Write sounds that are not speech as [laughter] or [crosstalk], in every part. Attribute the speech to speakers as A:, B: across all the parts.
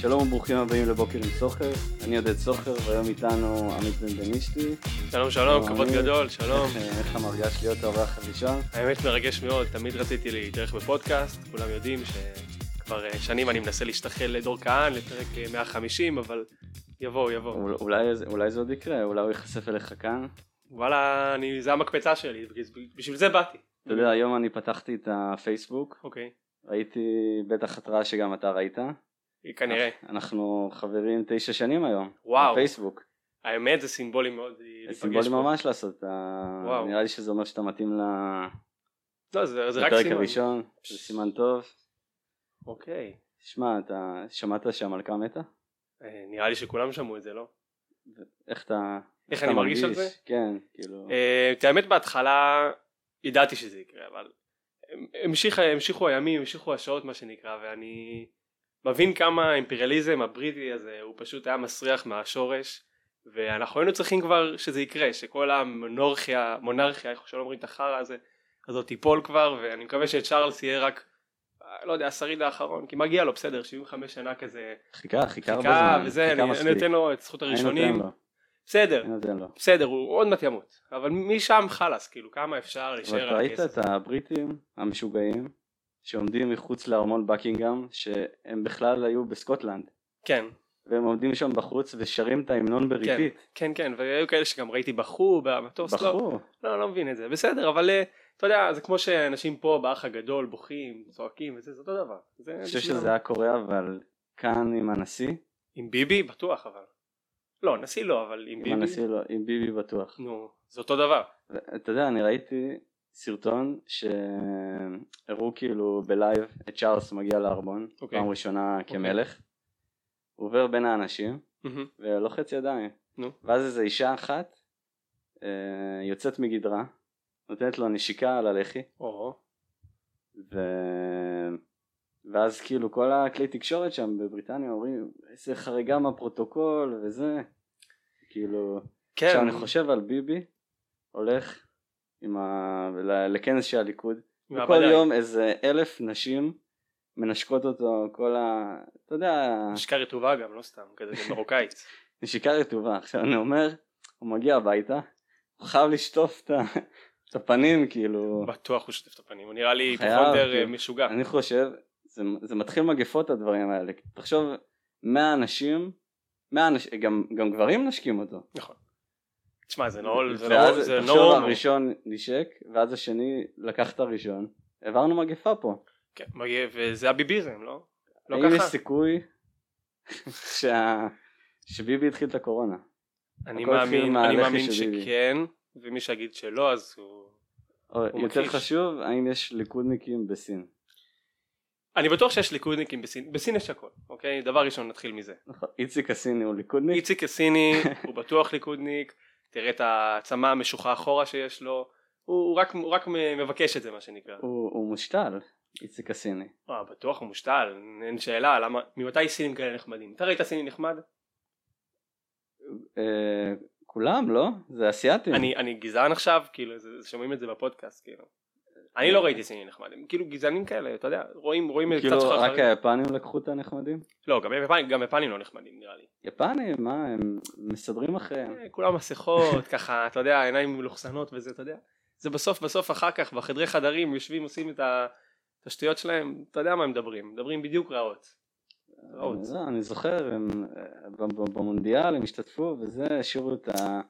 A: שלום וברוכים הבאים לבוקר עם סוחר, אני עודד סוחר והיום איתנו עמית בנבנישתי.
B: שלום, שלום,
A: שלום,
B: כבוד
A: עמית.
B: גדול, שלום.
A: איך- אה, איך המרגש להיות האורח הראשון?
B: האמת מרגש מאוד, תמיד רציתי להתארח בפודקאסט, כולם יודעים שכבר אה, שנים אני מנסה להשתחל לדור כהן, לפרק אה, 150, אבל יבואו, יבואו.
A: אול- אולי זה- אולי זה עוד יקרה, אולי הוא ייחשף אליך כאן.
B: וואלה, אני, זה המקפצה שלי, בגלל- בשביל זה באתי.
A: אתה יודע, היום אני פתחתי את הפייסבוק,
B: אוקיי,
A: ראיתי בטח התראה שגם אתה ראית.
B: כנראה.
A: אנחנו חברים תשע שנים היום.
B: וואו.
A: בפייסבוק.
B: האמת זה סימבולי מאוד אה,
A: זה
B: להיפגש
A: סימבולי
B: פה.
A: ממש לעשות את ה...
B: וואו.
A: נראה לי שזה אומר שאתה מתאים ל-
B: לא, זה זה רק
A: לפרק
B: סימן.
A: הראשון, זה סימן טוב.
B: אוקיי.
A: שמע, אתה שמעת שהמלכה מתה?
B: אה, נראה לי שכולם שמעו את זה, לא?
A: איך אתה...
B: איך
A: אתה
B: אני מרגיש על זה?
A: כן, כאילו...
B: אה, את האמת בהתחלה ידעתי שזה יקרה אבל המשיך, המשיכו הימים המשיכו השעות מה שנקרא ואני מבין כמה האימפריאליזם הבריטי הזה הוא פשוט היה מסריח מהשורש ואנחנו היינו צריכים כבר שזה יקרה שכל המונרכיה מונרכיה איך שלא אומרים את החרא הזה הזאת תיפול כבר ואני מקווה שצ'ארלס יהיה רק אה, לא יודע השריד האחרון כי מגיע לו בסדר 75 שנה כזה
A: חיכה, חיכה הרבה
B: חיכה
A: זמן.
B: וזה
A: חיכה
B: אני אני
A: מספיק.
B: נותן לו את זכות
A: אני
B: הראשונים
A: נותן לו,
B: בסדר
A: אני נותן לו.
B: בסדר, הוא עוד מעט ימות, אבל משם חלאס, כאילו כמה אפשר
A: אבל
B: [laughs] להישאר
A: אתה
B: על
A: ראית
B: הכס הזה.
A: את הבריטים המשוגעים שעומדים מחוץ לארמון בקינגהם, שהם בכלל היו בסקוטלנד,
B: כן,
A: והם עומדים שם בחוץ ושרים את ההמנון בריטית.
B: כן, כן, והיו כאלה שגם ראיתי בחו במטוס, לא,
A: בחרו.
B: לא, לא מבין את זה, בסדר, אבל אה, אתה יודע, זה כמו שאנשים פה באח הגדול בוכים, צועקים וזה, זה אותו דבר. זה
A: אני חושב
B: בשבילם.
A: שזה היה קורה, אבל כאן עם הנשיא,
B: עם ביבי? בטוח אבל. לא, נשיא לא, אבל עם
A: עם
B: ביבי,
A: הנשיא לא, עם ביבי בטוח.
B: נו, זה אותו דבר.
A: אתה יודע, אני ראיתי סרטון שהראו כאילו בלייב את צ'ארלס מגיע לארמון,
B: אוקיי.
A: פעם ראשונה כמלך. הוא עובר בין האנשים
B: מהמם.
A: ולוחץ ידיים.
B: נו.
A: ואז איזו אישה אחת אה, יוצאת מגדרה, נותנת לו נשיקה על הלחי,
B: או,
A: ו... ואז כאילו כל הכלי תקשורת שם בבריטניה אומרים איזה חריגה מהפרוטוקול וזה, כאילו...
B: כן,
A: עכשיו אני חושב על ביבי הולך עם ה... ל- לכנס של הליכוד כל
B: מהבדיים.
A: יום איזה אלף נשים מנשקות אותו כל ה... אתה יודע,
B: משקה רטובה גם, לא סתם, כזה גם מרוקאית.
A: [laughs] נשיקה רטובה עכשיו אני אומר הוא מגיע הביתה הוא חייב לשטוף את ה- את הפנים כאילו
B: בטוח הוא שוטף את הפנים, הוא נראה לי
A: חייב,
B: פחונדר
A: כן.
B: אה, משוגע.
A: אני חושב זה, זה מתחיל מגפות הדברים האלה תחשוב 100 אנשים 100 אנש... גם, גם גברים נשקים אותו
B: נכון. תשמע, זה לא... זה לא...
A: ואז
B: זה
A: תחשוב
B: לא...
A: הראשון נשק ואז השני לקח את הראשון העברנו מגפה פה
B: כן, מגיע- וזה הביביזם, לא? לא
A: האם יש
B: ככה?
A: סיכוי [laughs] שה... שביבי התחיל את הקורונה
B: אני
A: הכל התחיל
B: מאמין, אני
A: מהלחי
B: מאמין
A: של ביבי.
B: שכן, ומי שיגיד שלא, אז הוא...
A: או
B: הוא
A: יותר
B: מכחיש.
A: חשוב האם יש ליכודניקים בסין
B: אני בטוח שיש ליכודניקים בסין, בסין יש הכל, אוקיי? דבר ראשון נתחיל מזה.
A: נכון. איציק הסיני הוא ליכודניק
B: איציק הסיני, הוא בטוח ליכודניק, תראה את העצמה המשוכה אחורה שיש לו, הוא הוא רק- הוא רק מבקש את זה מה שנקרא.
A: הוא, הוא מושתל איציק הסיני
B: אה, בטוח הוא מושתל, אין שאלה, למה, ממתי סינים כאלה נחמדים? אתה ראית סיני נחמד?
A: אה, כולם לא? זה אסיאתים
B: אני, אני גזען עכשיו, כאילו, זה, זה- שומעים את זה בפודקאסט, כאילו. אני לא ראיתי סינים נחמדים, כאילו גזענים כאלה, אתה יודע, רואים, רואים
A: כאילו
B: קצת
A: רק
B: שחרחרים.
A: היפנים לקחו את הנחמדים?
B: לא, גם יפנים, גם יפנים לא נחמדים נראה לי.
A: יפנים מה הם מסדרים אחריהם
B: אה, כולם מסכות, ככה, אתה יודע, עיניים מלוכסנות וזה, אתה יודע. זה בסוף בסוף אחר כך, בחדרי חדרים, יושבים, עושים את ה- את השטויות שלהם, אתה יודע מה הם מדברים, מדברים בדיוק רעות. רעות.
A: לא, אני זוכר, הם אה, ב- ב- במונדיאל הם השתתפו וזה, השאירו את ה...
B: אה.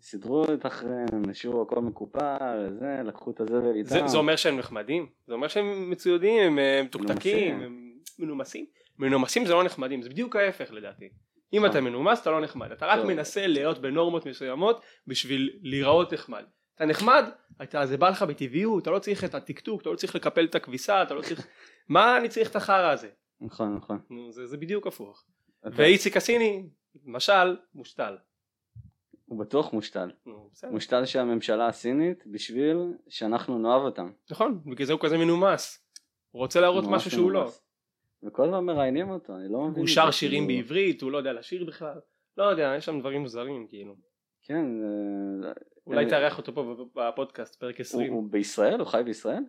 A: סידרו את אחריהם, השאירו הכל מקופל, זה, לקחו את הזבל איתם.
B: זה, זה אומר שהם נחמדים? זה אומר שהם מצוידים, הם אה, מתוקתקים,
A: מנומסים.
B: הם מנומסים? מנומסים זה לא נחמדים, זה בדיוק ההפך לדעתי. אם אתה מנומס אתה לא נחמד, אתה רק
A: אה. טוב.
B: מנסה להיות בנורמות מסוימות בשביל להיראות נחמד. אתה נחמד, אתה, זה בא לך בטבעיות, אתה לא צריך את הטקטוק, אתה לא צריך לקפל את הכביסה, אתה
A: [laughs]
B: לא צריך... מה אני צריך את החרא הזה?
A: נכון, נכון.
B: נו, זה, זה בדיוק הפוך.
A: אתה-
B: ואיציק הסיני, למשל, מושתל.
A: הוא בטוח מושתל.
B: נו, בסדר.
A: מושתל של הממשלה הסינית בשביל שאנחנו נאהב אותם.
B: נכון, בגלל זה הוא כזה מנומס. הוא רוצה להראות
A: ממש
B: משהו שהוא לא.
A: מנומס. וכל הזמן מראיינים אותו, אני לא מבין.
B: הוא
A: את
B: שר
A: זה,
B: שירים
A: כאילו.
B: בעברית, הוא לא יודע לשיר בכלל, לא יודע, יש שם דברים מוזרים כאילו.
A: כן, אה,
B: אולי
A: אני-
B: תארח אותו פה בפודקאסט, פרק אה,
A: הוא
B: 20.
A: הוא בישראל? הוא חי בישראל?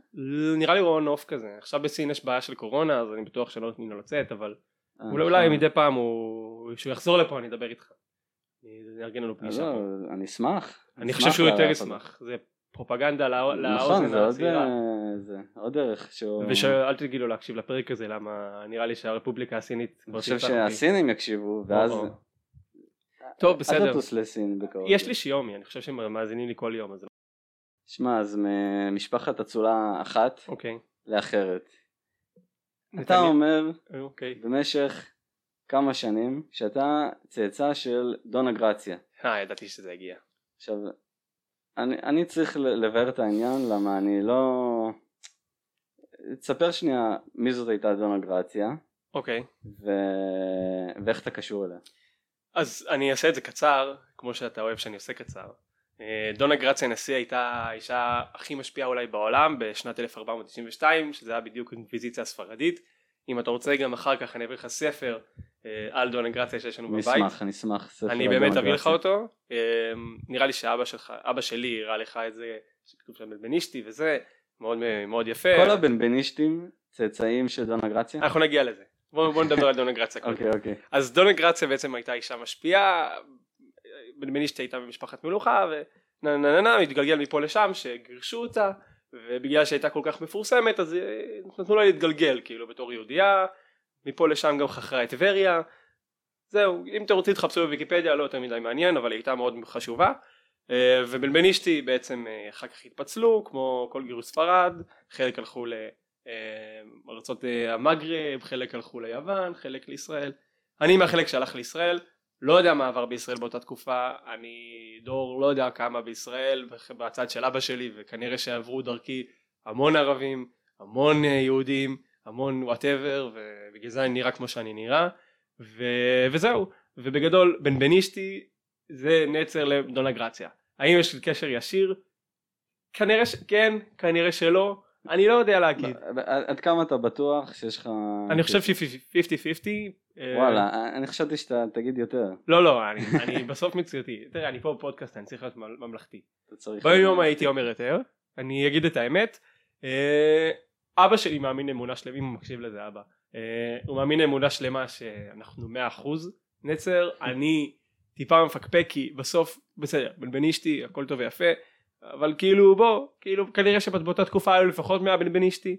B: נראה לי הוא הון עוף כזה, עכשיו בסין יש בעיה של קורונה, אז אני בטוח שלא נותנים לו לצאת, אבל
A: אה,
B: אולי, אולי
A: נכון.
B: מדי פעם הוא... כשהוא יחזור לפה אני אדבר איתך. אני אארגן לנו
A: אה,
B: פגישה
A: לא,
B: פה.
A: אני אשמח.
B: אני
A: אשמח
B: חושב שהוא יותר
A: לה-
B: ישמח. זה פרופגנדה לא-
A: נכון,
B: לאוזן
A: זה עוד,
B: הצעירה.
A: אה, זה עוד ערך שהוא...
B: ושאל תגידו להקשיב לפרק הזה למה נראה לי שהרפובליקה הסינית
A: אני
B: כבר
A: חושב
B: תרצח אותי.
A: שהסינים יקשיבו, ואז...
B: או, או. טוב
A: אל
B: בסדר.
A: תטוס לסין בקרוב.
B: יש לי שיומי אני חושב שהם מאזינים לי כל יום אז
A: שמע, אז ממשפחת אצולה אחת
B: אוקיי.
A: לאחרת. אתה
B: נתניה-
A: אומר
B: אוקיי.
A: במשך כמה שנים שאתה צאצא של דונה גרציה.
B: אה ידעתי שזה יגיע.
A: עכשיו, אני, אני צריך ל- לבאר את העניין למה אני לא... תספר שנייה מי זאת הייתה דונה גרציה
B: אוקיי.
A: ו... ואיך אתה קשור אליה.
B: אז אני אעשה את זה קצר, כמו שאתה אוהב שאני עושה קצר. אה, דונה גרציה נשיא הייתה האישה הכי משפיעה אולי בעולם בשנת 1492, שזה היה בדיוק אינקוויזיציה הספרדית. אם אתה רוצה גם אחר כך אני אביא לך ספר אה, על דונה גרציה שיש לנו
A: אני
B: בבית.
A: אשמח, אני אשמח. ספר
B: אני
A: על
B: באמת
A: דונה
B: אביא לך
A: גרציה.
B: אותו. אה, נראה לי שאבא שלך, אבא שלי הראה לך את זה, שכתוב שם בלבנישתי וזה, מאוד אה, מאוד יפה.
A: כל הבנבנישטים צאצאים של דונה גרציה?
B: אנחנו נגיע לזה. בואו בואו נדבר על דונה גרציה. קודם.
A: אוקיי, אוקיי.
B: אז דונה גרציה בעצם הייתה אישה משפיעה, בנבנישתי הייתה במשפחת מלוכה ונה נה נה נה, התגלגל מפה לשם שגירשו אותה ובגלל שהייתה כל כך מפורסמת אז אה, נתנו לה להתגלגל כאילו בתור יהודייה, מפה לשם גם חכרה את טבריה, זהו אם אתם רוצים תחפשו בוויקיפדיה לא יותר מדי מעניין אבל היא הייתה מאוד חשובה אה, ובנבנישתי בעצם אה, אחר כך התפצלו כמו כל גירוש ספרד, חלק הלכו ל... אה, ארצות אה, המגרב, חלק הלכו ליוון, חלק לישראל, אני מהחלק שהלך לישראל, לא יודע מה עבר בישראל באותה תקופה, אני דור לא יודע כמה בישראל, בצד של אבא שלי, וכנראה שעברו דרכי המון ערבים, המון אה, יהודים, המון וואטאבר, ובגלל זה אני נראה כמו שאני נראה, ו... וזהו, ובגדול בנבנישתי זה נצר לדונה גרציה. האם יש לי קשר ישיר? כנראה שכן, כנראה שלא, אני לא יודע להגיד.
A: ב- עד אה, עד כמה אתה בטוח שיש לך...
B: אני חושב ש-50-50.
A: וואלה, אני חשבתי שאתה תגיד יותר.
B: לא לא אני, אני בסוף מציאותי תראה אני פה בפודקאסט אני צריך להיות ממ- ממלכתי
A: אתה צריך...
B: ביום יום הייתי אומר יותר אני אגיד את האמת אה, אבא שלי מאמין אמונה שלמה אם הוא מקשיב לזה אבא אה, הוא מאמין אמונה שלמה שאנחנו 100% נצר אני טיפה מפקפק כי בסוף בסדר בנבנישתי הכל טוב ויפה אבל כאילו בוא כאילו כנראה שבאותה תקופה היו לפחות 100 בנבנישתי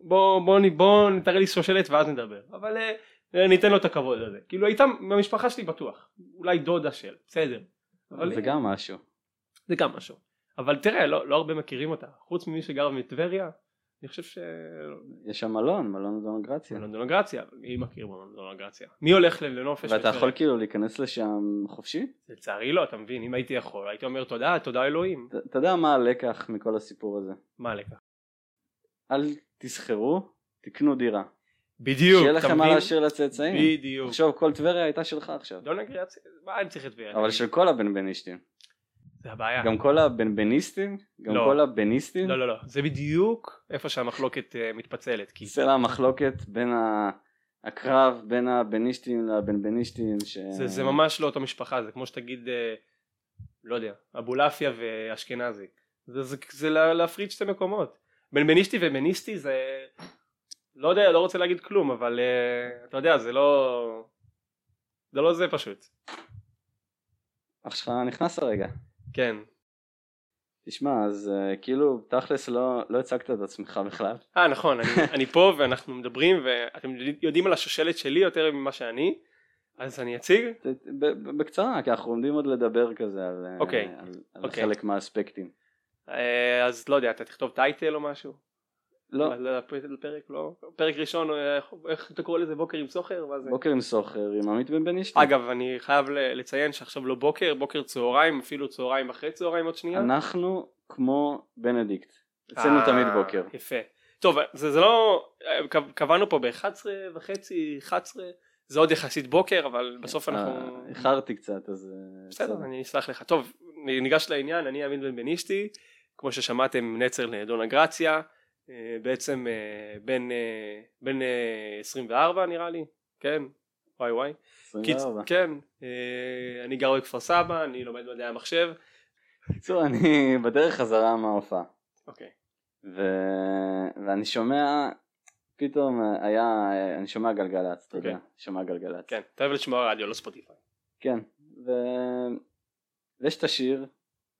B: בוא בוא נ- בוא נתאר לי שושלת ואז נדבר אבל אה, אה, ניתן לו את הכבוד הזה כאילו הייתה מהמשפחה שלי בטוח אולי דודה של בסדר אבל-
A: זה גם משהו.
B: זה גם משהו. אבל תראה, לא, לא הרבה מכירים אותה, חוץ ממי שגר בטבריה, אני חושב ש...
A: יש שם מלון, מלון דונה גרציה.
B: לונדון גרציה, מי מכיר בלונדון גרציה? מי הולך ל- לנופש?
A: ואתה
B: בטבריה?
A: יכול כאילו להיכנס לשם חופשי?
B: לצערי לא, אתה מבין, אם הייתי יכול, הייתי אומר תודה, תודה אלוהים.
A: ת- אתה יודע מה הלקח מכל הסיפור הזה?
B: מה לקח?
A: אל תסחרו, תקנו דירה.
B: בדיוק,
A: שיהיה
B: אתה
A: לכם מה
B: מבין?
A: להשאיר לצאצאים.
B: בדיוק.
A: עכשיו כל טבריה הייתה שלך עכשיו.
B: לונדון גרציה, מה אני צריך את טבריה?
A: אבל של כל הבנבנישטים.
B: זה הבעיה.
A: גם כל הבנבניסטים? גם
B: לא.
A: כל הבניסטים?
B: לא, לא, לא, זה בדיוק איפה שהמחלוקת אה, מתפצלת, כי...
A: סלע המחלוקת בין ה- הקרב בין הבנישטים לבנבנישטים. ש-
B: זה, זה ממש לא אותה משפחה, זה כמו שתגיד, אה, לא יודע, אבולעפיה ואשכנזי. זה, זה, זה לה- להפריד שתי מקומות. בנבנישתי ובניסטי זה, לא יודע, לא רוצה להגיד כלום, אבל אה, אתה יודע, זה לא, זה לא זה פשוט.
A: אח שלך נכנס הרגע.
B: כן.
A: תשמע, אז אה, כאילו, תכלס לא, לא הצגת את עצמך בכלל.
B: אה, נכון, אני, [laughs] אני פה ואנחנו מדברים, ואתם יודעים על השושלת שלי יותר ממה שאני, אז אני אציג.
A: ת- ת- ב- ב- בקצרה, כי אנחנו עומדים עוד לדבר כזה על, אה,
B: אוקיי,
A: על, על
B: אוקיי.
A: חלק מהאספקטים.
B: אה, אז לא יודע, אתה תכתוב טייטל או משהו?
A: לא,
B: על הפ- על פרק, לא? פרק ראשון, אה, איך- איך אתה קורא לזה? בוקר עם סוחר? מה זה?
A: בוקר עם סוחר, עם עמית בן בן אשתי.
B: אגב אני חייב ל- לציין שעכשיו לא בוקר, בוקר צהריים, אפילו צהריים אחרי צהריים עוד שנייה.
A: אנחנו כמו בנדיקט. אצלנו
B: אה,
A: תמיד בוקר.
B: יפה. טוב זה, זה לא, אה, קב- קבענו פה ב-11 וחצי, 11, זה עוד יחסית בוקר אבל בסוף אנחנו...
A: אה, איחרתי קצת, אז... אה,
B: בסדר
A: בסדר.
B: אני אסלח לך. טוב ניגש לעניין, אני עמית בן בנישתי, כמו ששמעתם נצר לדונה גרציה, אה, בעצם אה, בן, אה, בן אה, 24 נראה לי, כן? וואי וואי.
A: 24.
B: כן, אה, אני גר בכפר סבא, אני לומד מדעי המחשב.
A: בקיצור, אני [laughs] בדרך חזרה מההופעה.
B: אוקיי.
A: ו... ואני שומע פתאום אה, היה, אני שומע גלגלצ, אתה יודע,
B: אוקיי.
A: שומע גלגלצ.
B: כן, אתה אוהב לשמוע רדיו, לא ספוטיפיי.
A: כן, ו- ויש את השיר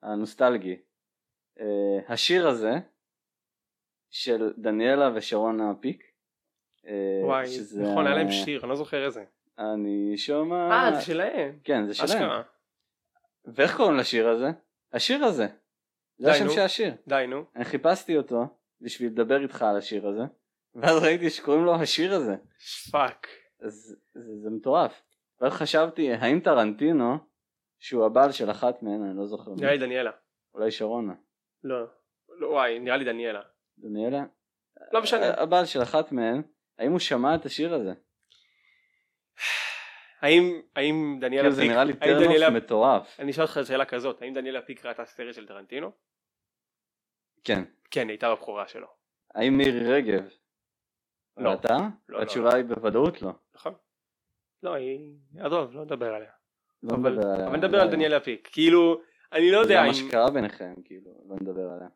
A: הנוסטלגי. אה, השיר הזה של דניאלה ושרונה פיק. אה,
B: וואי,
A: שזה
B: נכון, היה להם
A: ה-
B: שיר, אני לא זוכר איזה.
A: אני שומע...
B: אה, זה שלהם.
A: כן, זה שלהם.
B: אשכרה.
A: ואיך קוראים לשיר הזה? השיר הזה.
B: די,
A: זה השם
B: נו.
A: של השיר.
B: די, נו.
A: אני חיפשתי אותו בשביל לדבר איתך על השיר הזה, ואז ראיתי שקוראים לו השיר הזה.
B: פאק.
A: אוקיי. אז זה, זה מטורף. ואז חשבתי, האם טרנטינו, שהוא הבעל של אחת מהן, אני לא זוכר, מי,
B: נראה לי דניאלה.
A: אולי שרונה,
B: לא. לא, וואי, נראה לי דניאלה.
A: דניאלה,
B: לא משנה.
A: הבעל של אחת מהן, האם הוא שמע את השיר הזה?
B: האם, האם דניאלה
A: כאילו זה
B: פיק...
A: נראה לי
B: האם דניאלה-
A: טרנוף מטורף.
B: אני אשאל אותך שאלה כזאת, האם דניאלה פיק ראתה סרט של טרנטינו?
A: כן.
B: כן, היא הייתה בבחורה שלו.
A: האם מירי רגב?
B: לא.
A: אה, אתה?
B: לא, לא.
A: התשובה היא בוודאות לא.
B: נכון? לא, היא... עזוב, לא נדבר עליה.
A: לא
B: אבל
A: נדבר עליה.
B: אבל נדבר על דניאלה פיק. כאילו, אני לא
A: זה
B: יודע
A: מה
B: אם...
A: שקרה ביניכם, כאילו, לא נדבר עליה.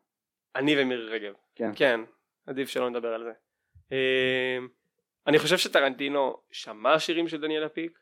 B: אני ומירי רגב.
A: כן.
B: כן, עדיף שלא נדבר על זה. אמ, אני חושב שטרנטינו שמע שירים של דניאלה פיק,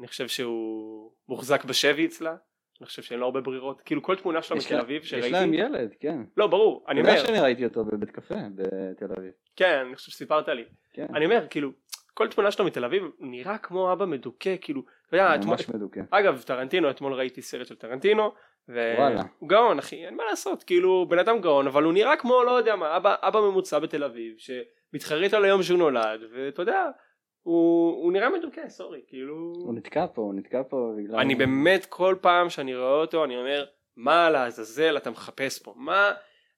B: אני חושב שהוא מוחזק בשבי אצלה, אני חושב שאין לו הרבה ברירות, כאילו כל תמונה שלו
A: יש
B: מתל
A: לה-
B: אביב
A: יש להם
B: שראיתי,
A: ילד, כן.
B: לא ברור, אני
A: אני יודע
B: אומר,
A: שאני ראיתי אותו בבית קפה בתל אביב.
B: כן, אני חושב שסיפרת לי,
A: כן.
B: אני אומר, כאילו, כל תמונה שלו מתל אביב נראה כמו אבא מדוכא, כאילו, אתה יודע, אתמול-
A: ממש מדוכא.
B: אגב, טרנטינו, אתמול ראיתי סרט של טרנטינו, אה,
A: וואלה.
B: והוא גאון אחי, אין מה לעשות, כאילו בן אדם גאון, אבל הוא נראה כמו לא יודע מה, אבא, אבא ממוצע בתל אביב, שמתחרה איתו ליום שהוא נולד, ואתה יודע, הוא, הוא נראה מדוכא, סורי, כאילו...
A: הוא נתקע פה, הוא נתקע פה בגלל...
B: אני באמת כל פעם שאני רואה אותו, אני אומר, מה לעזאזל אתה מחפש פה, מה,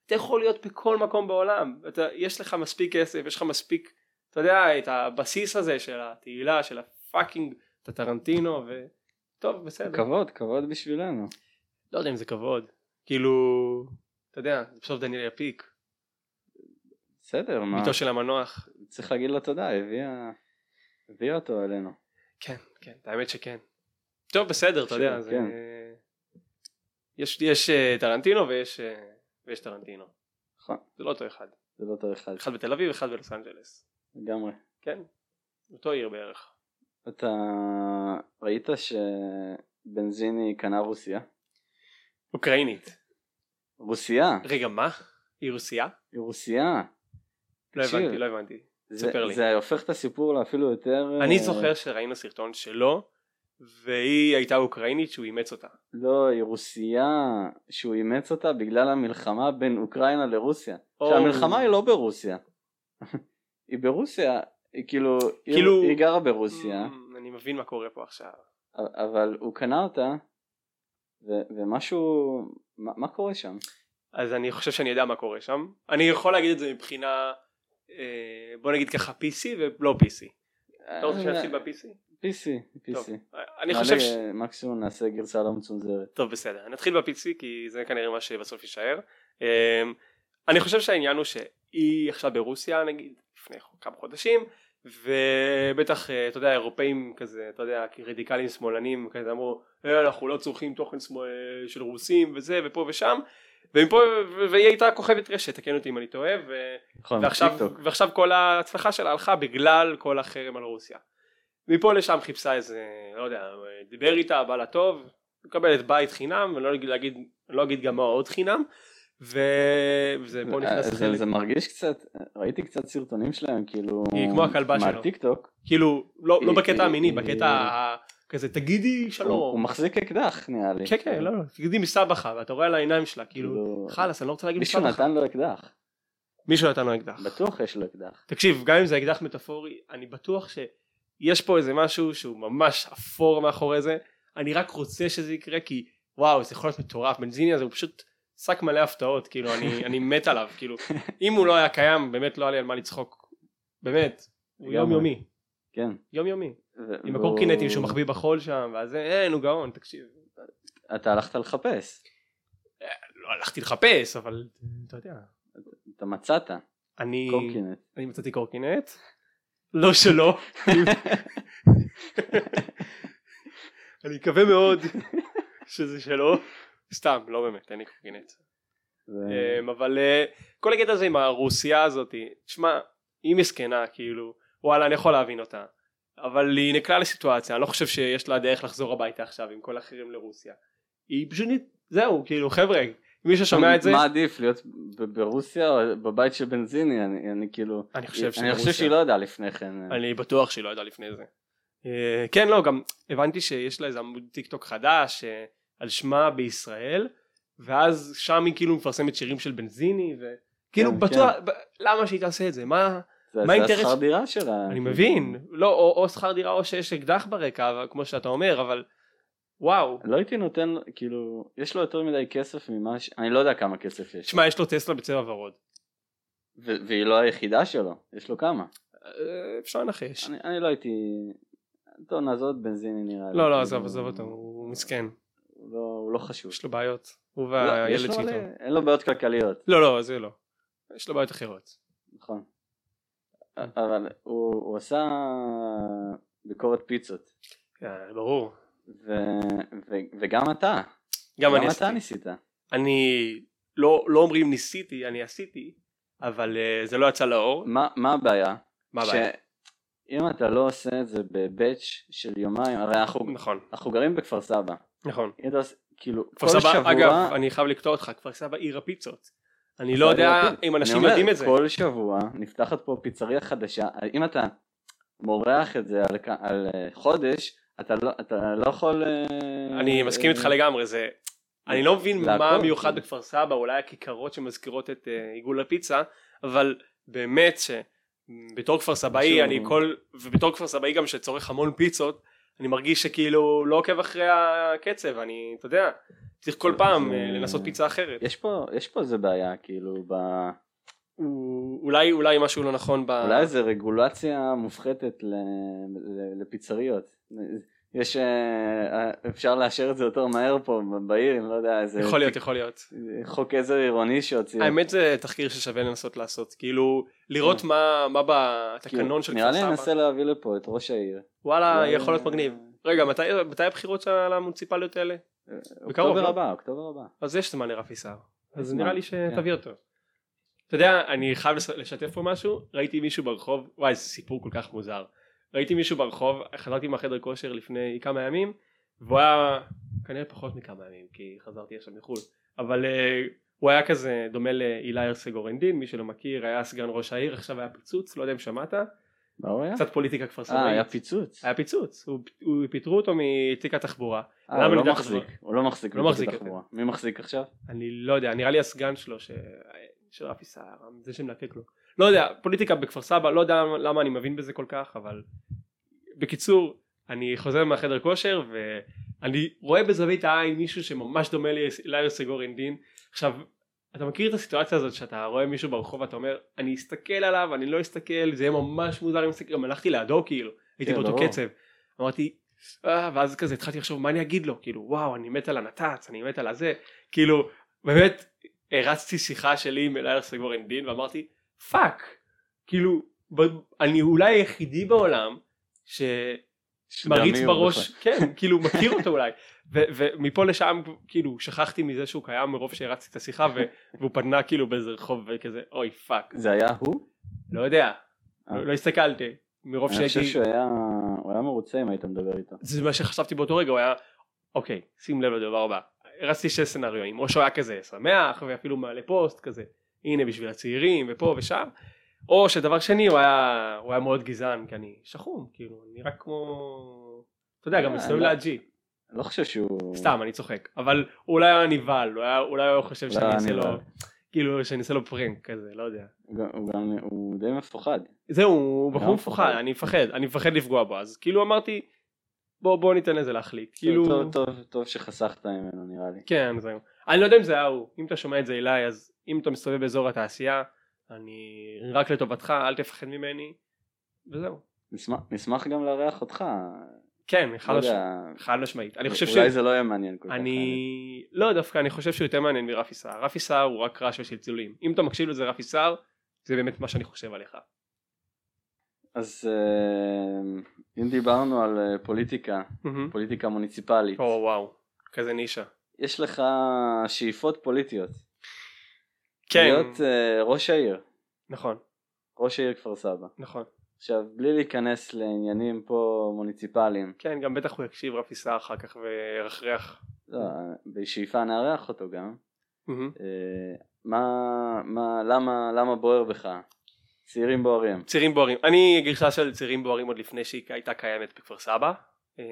B: אתה יכול להיות בכל מקום בעולם, אתה, יש לך מספיק כסף, יש לך מספיק, אתה יודע, את הבסיס הזה של התהילה, של הפאקינג, את הטרנטינו, ו... טוב, בסדר.
A: כבוד, כבוד בשבילנו.
B: לא יודע אם זה כבוד. כאילו, אתה יודע, זה בסוף דניאל יפיק,
A: בסדר, מה?
B: ביתו של המנוח.
A: צריך להגיד לו תודה, הביאה... הביאה אותו אלינו.
B: כן, כן, האמת שכן. טוב, בסדר, אתה יודע,
A: בסדר,
B: זה...
A: כן.
B: יש, יש אה, טרנטינו ויש, אה, ויש טרנטינו.
A: נכון,
B: זה לא אותו אחד.
A: זה לא אותו אחד,
B: אחד בתל אביב, אחד בלוס אנג'לס.
A: נכון. לגמרי.
B: כן, אותו עיר בערך.
A: אתה ראית שבנזיני קנה רוסיה?
B: אוקראינית.
A: רוסיה,
B: רגע, מה? היא רוסייה?
A: היא רוסיה.
B: לא
A: תקשיב.
B: הבנתי, לא הבנתי.
A: זה-
B: ספר לי.
A: זה הופך את הסיפור לאפילו יותר...
B: אני
A: אה,
B: זוכר שראינו סרטון שלו, והיא הייתה אוקראינית שהוא אימץ אותה.
A: לא, היא רוסיה שהוא אימץ אותה בגלל המלחמה בין אוקראינה לרוסיה.
B: או.
A: שהמלחמה היא לא ברוסיה. [laughs] היא ברוסיה, היא כאילו, היא-
B: כאילו-
A: היא גרה ברוסיה,
B: Mm, אני מבין מה קורה פה עכשיו.
A: אבל הוא קנה אותה, ו- ומשהו, מה מה קורה שם?
B: אז אני חושב שאני יודע מה קורה שם. אני יכול להגיד את זה מבחינה, אה, בוא נגיד ככה PC ולא PC. אתה רוצה שנתחיל ב-PC?
A: אה, PC,
B: טוב.
A: PC.
B: אני חושב ש...
A: נעלה, מקסימום נעשה גרסה לא מצונזרת.
B: טוב בסדר, נתחיל ב-PC כי זה כנראה מה שבסוף יישאר. אה, אני חושב שהעניין הוא שהיא עכשיו ברוסיה נגיד לפני כמה חודשים ובטח אה, אתה יודע אירופאים כזה אתה יודע רדיקלים שמאלנים כזה אמרו "אה, אנחנו לא צורכים תוכן שמאל, אה, של רוסים וזה ופה ושם ומפה ו- והיא הייתה כוכבת רשת תקן אותי אם אני טועה ו...
A: נכון,
B: ועכשיו,
A: טיקטוק.
B: ועכשיו כל ההצלחה שלה הלכה בגלל כל החרם על רוסיה. מפה לשם חיפשה איזה, לא יודע, דיבר איתה, בא לה טוב, מקבלת בית חינם, ולא אגיד- להגיד, לא אגיד גם מה עוד חינם, ו- וזה פה נכנס
A: אה, זה-
B: חלק,
A: זה מרגיש קצת, ראיתי קצת סרטונים שלהם, כאילו,
B: היא כמו הכלבה שלו.
A: מהטיקטוק,
B: כאילו, לא, לא
A: היא-
B: בקטע
A: היא-
B: המיני,
A: היא-
B: בקטע ה- כזה, תגידי
A: אה, הוא הוא
B: שלום.
A: מחזיק אקדח נראה לי.
B: כן, כן, לא, לא, תגידי מסבכה, ואתה רואה על העיניים שלה, כאילו,
A: כאילו,
B: חלאס, אני לא רוצה להגיד
A: מישהו
B: מסבכה.
A: נתן לו אקדח,
B: מישהו נתן לו אקדח.
A: בטוח יש לו אקדח.
B: תקשיב, גם אם זה אקדח מטאפורי, אני בטוח שיש פה איזה משהו שהוא ממש אפור מאחורי זה. אני רק רוצה שזה יקרה כי וואו, זה יכול להיות מטורף. בנזיני הזה הוא פשוט שק מלא הפתעות, כאילו, אני, אני מת עליו, כאילו, אם הוא לא היה קיים, באמת לא היה לי על מה לצחוק. באמת, הוא
A: לגמרי. לא.
B: יומיומי,
A: כן.
B: יומיומי.
A: ו-
B: עם
A: והוא-
B: הקורקינטים שהוא מחביא בחול שם, ואז זה, אין, הוא גאון, תקשיב.
A: אתה הלכת לחפש,
B: לא הלכתי לחפש, אבל אתה יודע.
A: אתה מצאת,
B: אני,
A: קורקינט.
B: אני מצאתי קורקינט, לא שלו. אני מקווה מאוד שזה שלו. סתם, לא באמת, אין לי קורקינט.
A: ו-
B: אה. אמ, אבל אה, כל הקטע הזה עם הרוסיה הזאת, תשמע, היא מסכנה, כאילו, וואלה, אני יכול להבין אותה. אבל היא נקלעה לסיטואציה, אני לא חושב שיש לה דרך לחזור הביתה עכשיו עם כל האחרים לרוסיה. היא פשוט, נת- זהו, כאילו, חבר'ה, מי ששומע את זה,
A: מה עדיף להיות ב- ברוסיה או בבית של בנזיני אני, אני כאילו
B: אני חושב
A: אני חושב
B: שרוסיה-
A: שהיא לא ידעה לפני כן
B: אני בטוח שהיא לא ידעה לפני זה. אה, כן, לא, גם הבנתי שיש לה איזה עמוד טיק טוק חדש אה, על שמה בישראל, ואז שם היא כאילו מפרסמת שירים של בנזיני, וכאילו
A: כן,
B: בטוח, ב- למה שהיא תעשה את זה? מה?
A: זה
B: מה
A: זה
B: האינטרס-
A: השכר דירה שלה
B: אני
A: כאילו.
B: מבין. לא, או או שכר דירה או שיש אקדח ברקע, אבל כמו שאתה אומר, אבל וואו.
A: לא הייתי נותן לו- כאילו יש לו יותר מדי כסף ממה ש... אני לא יודע כמה כסף יש לו.
B: שמע, יש לו טסלה בצבע ורוד.
A: ו- והיא לא היחידה שלו יש לו כמה
B: אה, אפשר לנחש.
A: אני, אני לא הייתי טוב נעזוב את בנזיני נראה לי
B: לא, לא,
A: כאילו,
B: עזוב, עזוב אותו, הוא מסכן.
A: הוא לא, הוא לא חשוב
B: יש לו בעיות. הוא
A: לא, יש
B: והילד
A: לו
B: שאיתו.
A: מלא- אין לו בעיות כלכליות
B: לא, לא, זה לא. יש לו בעיות אחרות.
A: נכון.
B: אה.
A: אבל הוא, הוא עשה ביקורת פיצות,
B: אה, ברור.
A: ו, ו, וגם אתה,
B: גם אני
A: אתה
B: עשיתי.
A: ניסית.
B: אני לא, לא אומרים ניסיתי, אני עשיתי, אבל uh, זה לא יצא לאור.
A: מה, מה הבעיה?
B: מה הבעיה?
A: שאם אתה לא עושה את זה בבאץ' של יומיים, הרי אנחנו,
B: נכון,
A: אנחנו גרים בכפר סבא.
B: נכון.
A: אם אתה עושה, כאילו,
B: כפר
A: כל
B: סבא,
A: שבוע,
B: אגב, אני חייב לקטוע אותך, כפר סבא עיר הפיצות. אני לא
A: זה
B: יודע
A: לא פיצה.
B: אם אנשים
A: אני אומר,
B: יודעים את זה.
A: כל שבוע נפתחת פה פיצריה חדשה, אם אתה מורח את זה על, כ- על אה, חודש, אתה לא, אתה לא יכול... אה,
B: אני מסכים איתך לגמרי, זה... אני לא מבין
A: זה
B: מה
A: הכל.
B: מיוחד בכפר סבא, אולי הכיכרות שמזכירות את אה, עיגול הפיצה, אבל באמת שבתור כפר סבאי
A: משהו-
B: אני כל... ובתור כפר סבאי גם שצורך המון פיצות, אני מרגיש שכאילו לא עוקב אחרי הקצב, אני, אתה יודע, צריך כל פעם
A: זה-
B: אה, לנסות פיצה אחרת.
A: יש פה, יש פה איזה בעיה, כאילו, ב...
B: הוא- אולי אולי משהו לא נכון ב...
A: אולי איזה רגולציה מופחתת ל... ל... לפיצריות. יש, אה, אפשר לאשר את זה יותר מהר פה ב- בעיר, אני לא יודע, איזה
B: יכול להיות, יכול להיות.
A: חוק עזר עירוני שהוציאו.
B: האמת זה תחקיר ששווה לנסות לעשות, כאילו לראות מה מה בתקנון של
A: כן. כאילו, נראה
B: כפר
A: לי
B: סבא.
A: ננסה להביא לפה את ראש העיר.
B: וואלה,
A: אולי-
B: יכול להיות מגניב. רגע, מתי, מתי הבחירות של המוניציפליות האלה? בקרוב,
A: אוקטובר
B: לא?
A: הבא, אוקטובר הבא.
B: אז יש זמן לרפי סער. אז
A: זמן, כן.
B: נראה לי שתביא אותו. אתה יודע, אני חייב לס- לשתף פה משהו, ראיתי מישהו ברחוב, וואי, זה סיפור כל כך מוזר. ראיתי מישהו ברחוב, חזרתי מהחדר כושר לפני כמה ימים, והוא היה כנראה פחות מכמה ימים, כי חזרתי עכשיו מחו"ל, אבל אה, הוא היה כזה דומה לאילי ארסגורנדין, מי שלא מכיר, היה סגן ראש העיר, עכשיו היה פיצוץ, לא יודע אם שמעת,
A: מה הוא היה?
B: קצת פוליטיקה כפר
A: כן. אה, היה
B: סבאית.
A: פיצוץ.
B: היה פיצוץ, הוא- הוא- פיטרו אותו מתיק התחבורה.
A: אה,
B: למה
A: הוא
B: אני
A: לא
B: יודע
A: מחזיק,
B: חזרה?
A: הוא לא מחזיק.
B: לא
A: בתיק
B: מחזיק
A: התחבורה. מי מחזיק עכשיו?
B: אני לא יודע, נראה לי הסגן שלו, ש... של רפי סער, זה שמלקק לו. לא יודע, פוליטיקה בכפר סבא, לא יודע למה אני מבין בזה כל כך, אבל... בקיצור, אני חוזר מהחדר כושר, ואני רואה בזווית העין מישהו שממש דומה לי, לאיר סגורין דין. עכשיו, אתה מכיר את הסיטואציה הזאת שאתה רואה מישהו ברחוב ואתה אומר, אני אסתכל עליו, אני לא אסתכל, זה יהיה ממש מוזר אם אסתכל, גם הלכתי לידו כאילו, הייתי
A: כן,
B: באותו
A: ברור.
B: קצב. אמרתי, אה, ואז כזה התחלתי לחשוב מה אני אגיד לו, כאילו, וואו, אני מת על הנת"צ, אני מת על הזה, כאילו, באמת, הרצתי שיחה שלי עם אלייר סגורין דין ואמרתי, פאק, כאילו, ב- אני אולי היחידי בעולם שמריץ
A: שגם מי הוא
B: בראש, כן,
A: [laughs]
B: כאילו מכיר אותו אולי, ו- ומפה לשם כאילו שכחתי מזה שהוא קיים מרוב שהרצתי את השיחה ו- והוא פנה כאילו באיזה רחוב וכזה, אוי פאק,
A: בכלל. זה היה הוא?
B: לא יודע,
A: אה.
B: לא לא הסתכלתי, מרוב
A: אני חושב
B: שהייתי,
A: שהוא היה הוא היה מרוצה אם היית מדבר איתו.
B: זה מה שחשבתי באותו רגע, הוא היה, אוקיי, שים לב לדבר הבא, הרצתי שני סצנריונים, או שהוא היה כזה שמח ואפילו מעלה פוסט כזה, הנה בשביל הצעירים ופה ושם, או שדבר שני הוא היה, הוא היה מאוד גזען כי אני שחום, כאילו, אני נראה כמו, אתה יודע, גם
A: אה,
B: מסתובב
A: לא.
B: להג'י,
A: אני לא חושב שהוא...
B: סתם אני צוחק, אבל אולי הוא היה נבהל, אולי- אולי הוא חושב
A: אולי
B: שאני
A: היה
B: אעשה לו,
A: נבהל.
B: כאילו, שאני אעשה לו פרנק כזה, לא יודע.
A: הוא גם- הוא גם, הוא די מפוחד.
B: זהו, הוא
A: גם
B: בחור מפוחד,
A: מפוחד.
B: אני מפחד, אני מפחד לפגוע בו, אז כאילו אמרתי, בוא בוא ניתן לזה להחליט, כאילו,
A: טוב, טוב, טוב שחסכת ממנו נראה לי.
B: כן זהו, אני לא יודע אם זה היה הוא, אם אתה שומע את זה אילי, אז אם אתה מסתובב באזור התעשייה, אני רק לטובתך, אל תפחד ממני, וזהו,
A: נשמח, נשמח גם לארח אותך.
B: כן, חד
A: לא
B: משמעית,
A: יודע,
B: חד משמעית, אני חושב ש...
A: אולי זה לא יהיה מעניין כל כך.
B: אני לא דווקא אני חושב שהוא יותר מעניין מרפי סער רפי סער הוא רק רעש וצלצולים אם אתה מקשיב לזה רפי סער זה באמת מה שאני חושב עליך
A: אז אה, אם דיברנו על אה, פוליטיקה,
B: מהמם.
A: פוליטיקה מוניציפלית,
B: או וואו כזה נישה
A: יש לך שאיפות פוליטיות.
B: כן
A: להיות אה, ראש העיר.
B: נכון
A: ראש העיר כפר סבא.
B: נכון.
A: עכשיו, בלי להיכנס לעניינים פה מוניציפליים,
B: כן, גם בטח הוא יקשיב רפי סער אחר כך וירחרח.
A: לא,
B: כן.
A: בשאיפה נארח אותו גם. אה, מה, מה, למה, למה בוער בך? צעירים בוערים.
B: צירים בוערים. אני גרסה של צירים בוערים עוד לפני שהיא הייתה קיימת בכפר סבא. אמ,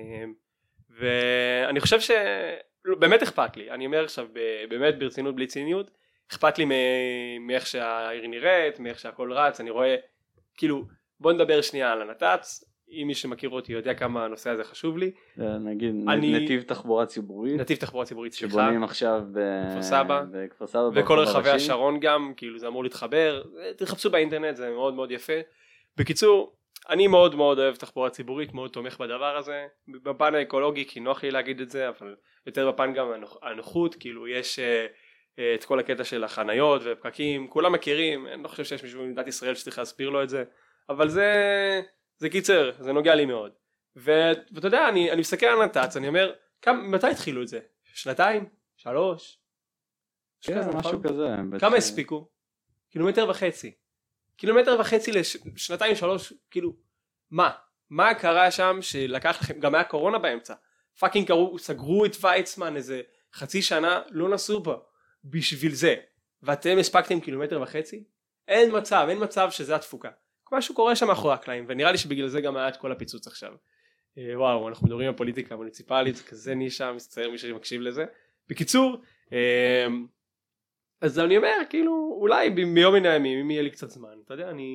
B: ואני חושב ש... לא, באמת אכפת לי. אני אומר עכשיו ב- באמת ברצינות בלי ציניות. אכפת לי מ- מאיך שהעיר נראית, מאיך שהכל רץ. אני רואה, כאילו, בוא נדבר שנייה על הנת"צ. אם מי שמכיר אותי יודע כמה הנושא הזה חשוב לי.
A: אה, נגיד נ-
B: אני-
A: נתיב תחבורה ציבורית,
B: נתיב תחבורה ציבורית, סליחה.
A: שבונים עכשיו ב-
B: בכפר סבא.
A: בכפר סבא,
B: וכל
A: ברחוב
B: רחבי
A: הראשי.
B: השרון גם, כאילו זה אמור להתחבר, תחפשו באינטרנט זה מאוד מאוד יפה. בקיצור, אני מאוד מאוד אוהב תחבורה ציבורית, מאוד תומך בדבר הזה, בפן האקולוגי כי נוח לי להגיד את זה, אבל יותר בפן גם הנוח- הנוחות, כאילו יש אה, אה, את כל הקטע של החניות ופקקים, כולם מכירים, אני לא חושב שיש מישהו במדינת ישראל שצריך להסביר לו את זה, אבל זה, זה קיצר, זה נוגע לי מאוד. ו- ואתה יודע, אני, אני מסתכל על נת"צ, אני אומר, כמה, מתי התחילו את זה? שנתיים? שלוש? משהו
A: כן,
B: כזה, נכון?
A: משהו כזה.
B: כמה
A: בטח.
B: הספיקו? קילומטר וחצי. קילומטר וחצי לשנתיים שלוש, כאילו, מה? מה קרה שם שלקח לכם, גם היה קורונה באמצע. פאקינג קראו, סגרו את ויצמן איזה חצי שנה, לא נסעו פה. בשביל זה. ואתם הספקתם קילומטר וחצי? אין מצב, אין מצב שזה התפוקה. משהו קורה שם מאחורי הקלעים, ונראה לי שבגלל זה גם היה את כל הפיצוץ עכשיו. אה, וואו, אנחנו מדברים על פוליטיקה מוניציפלית, זה כזה נישה, מצטער מי שמקשיב לזה. בקיצור, אמ, אז אני אומר, כאילו, אולי ב- מיום מן הימים, אם יהיה לי קצת זמן, אתה יודע, אני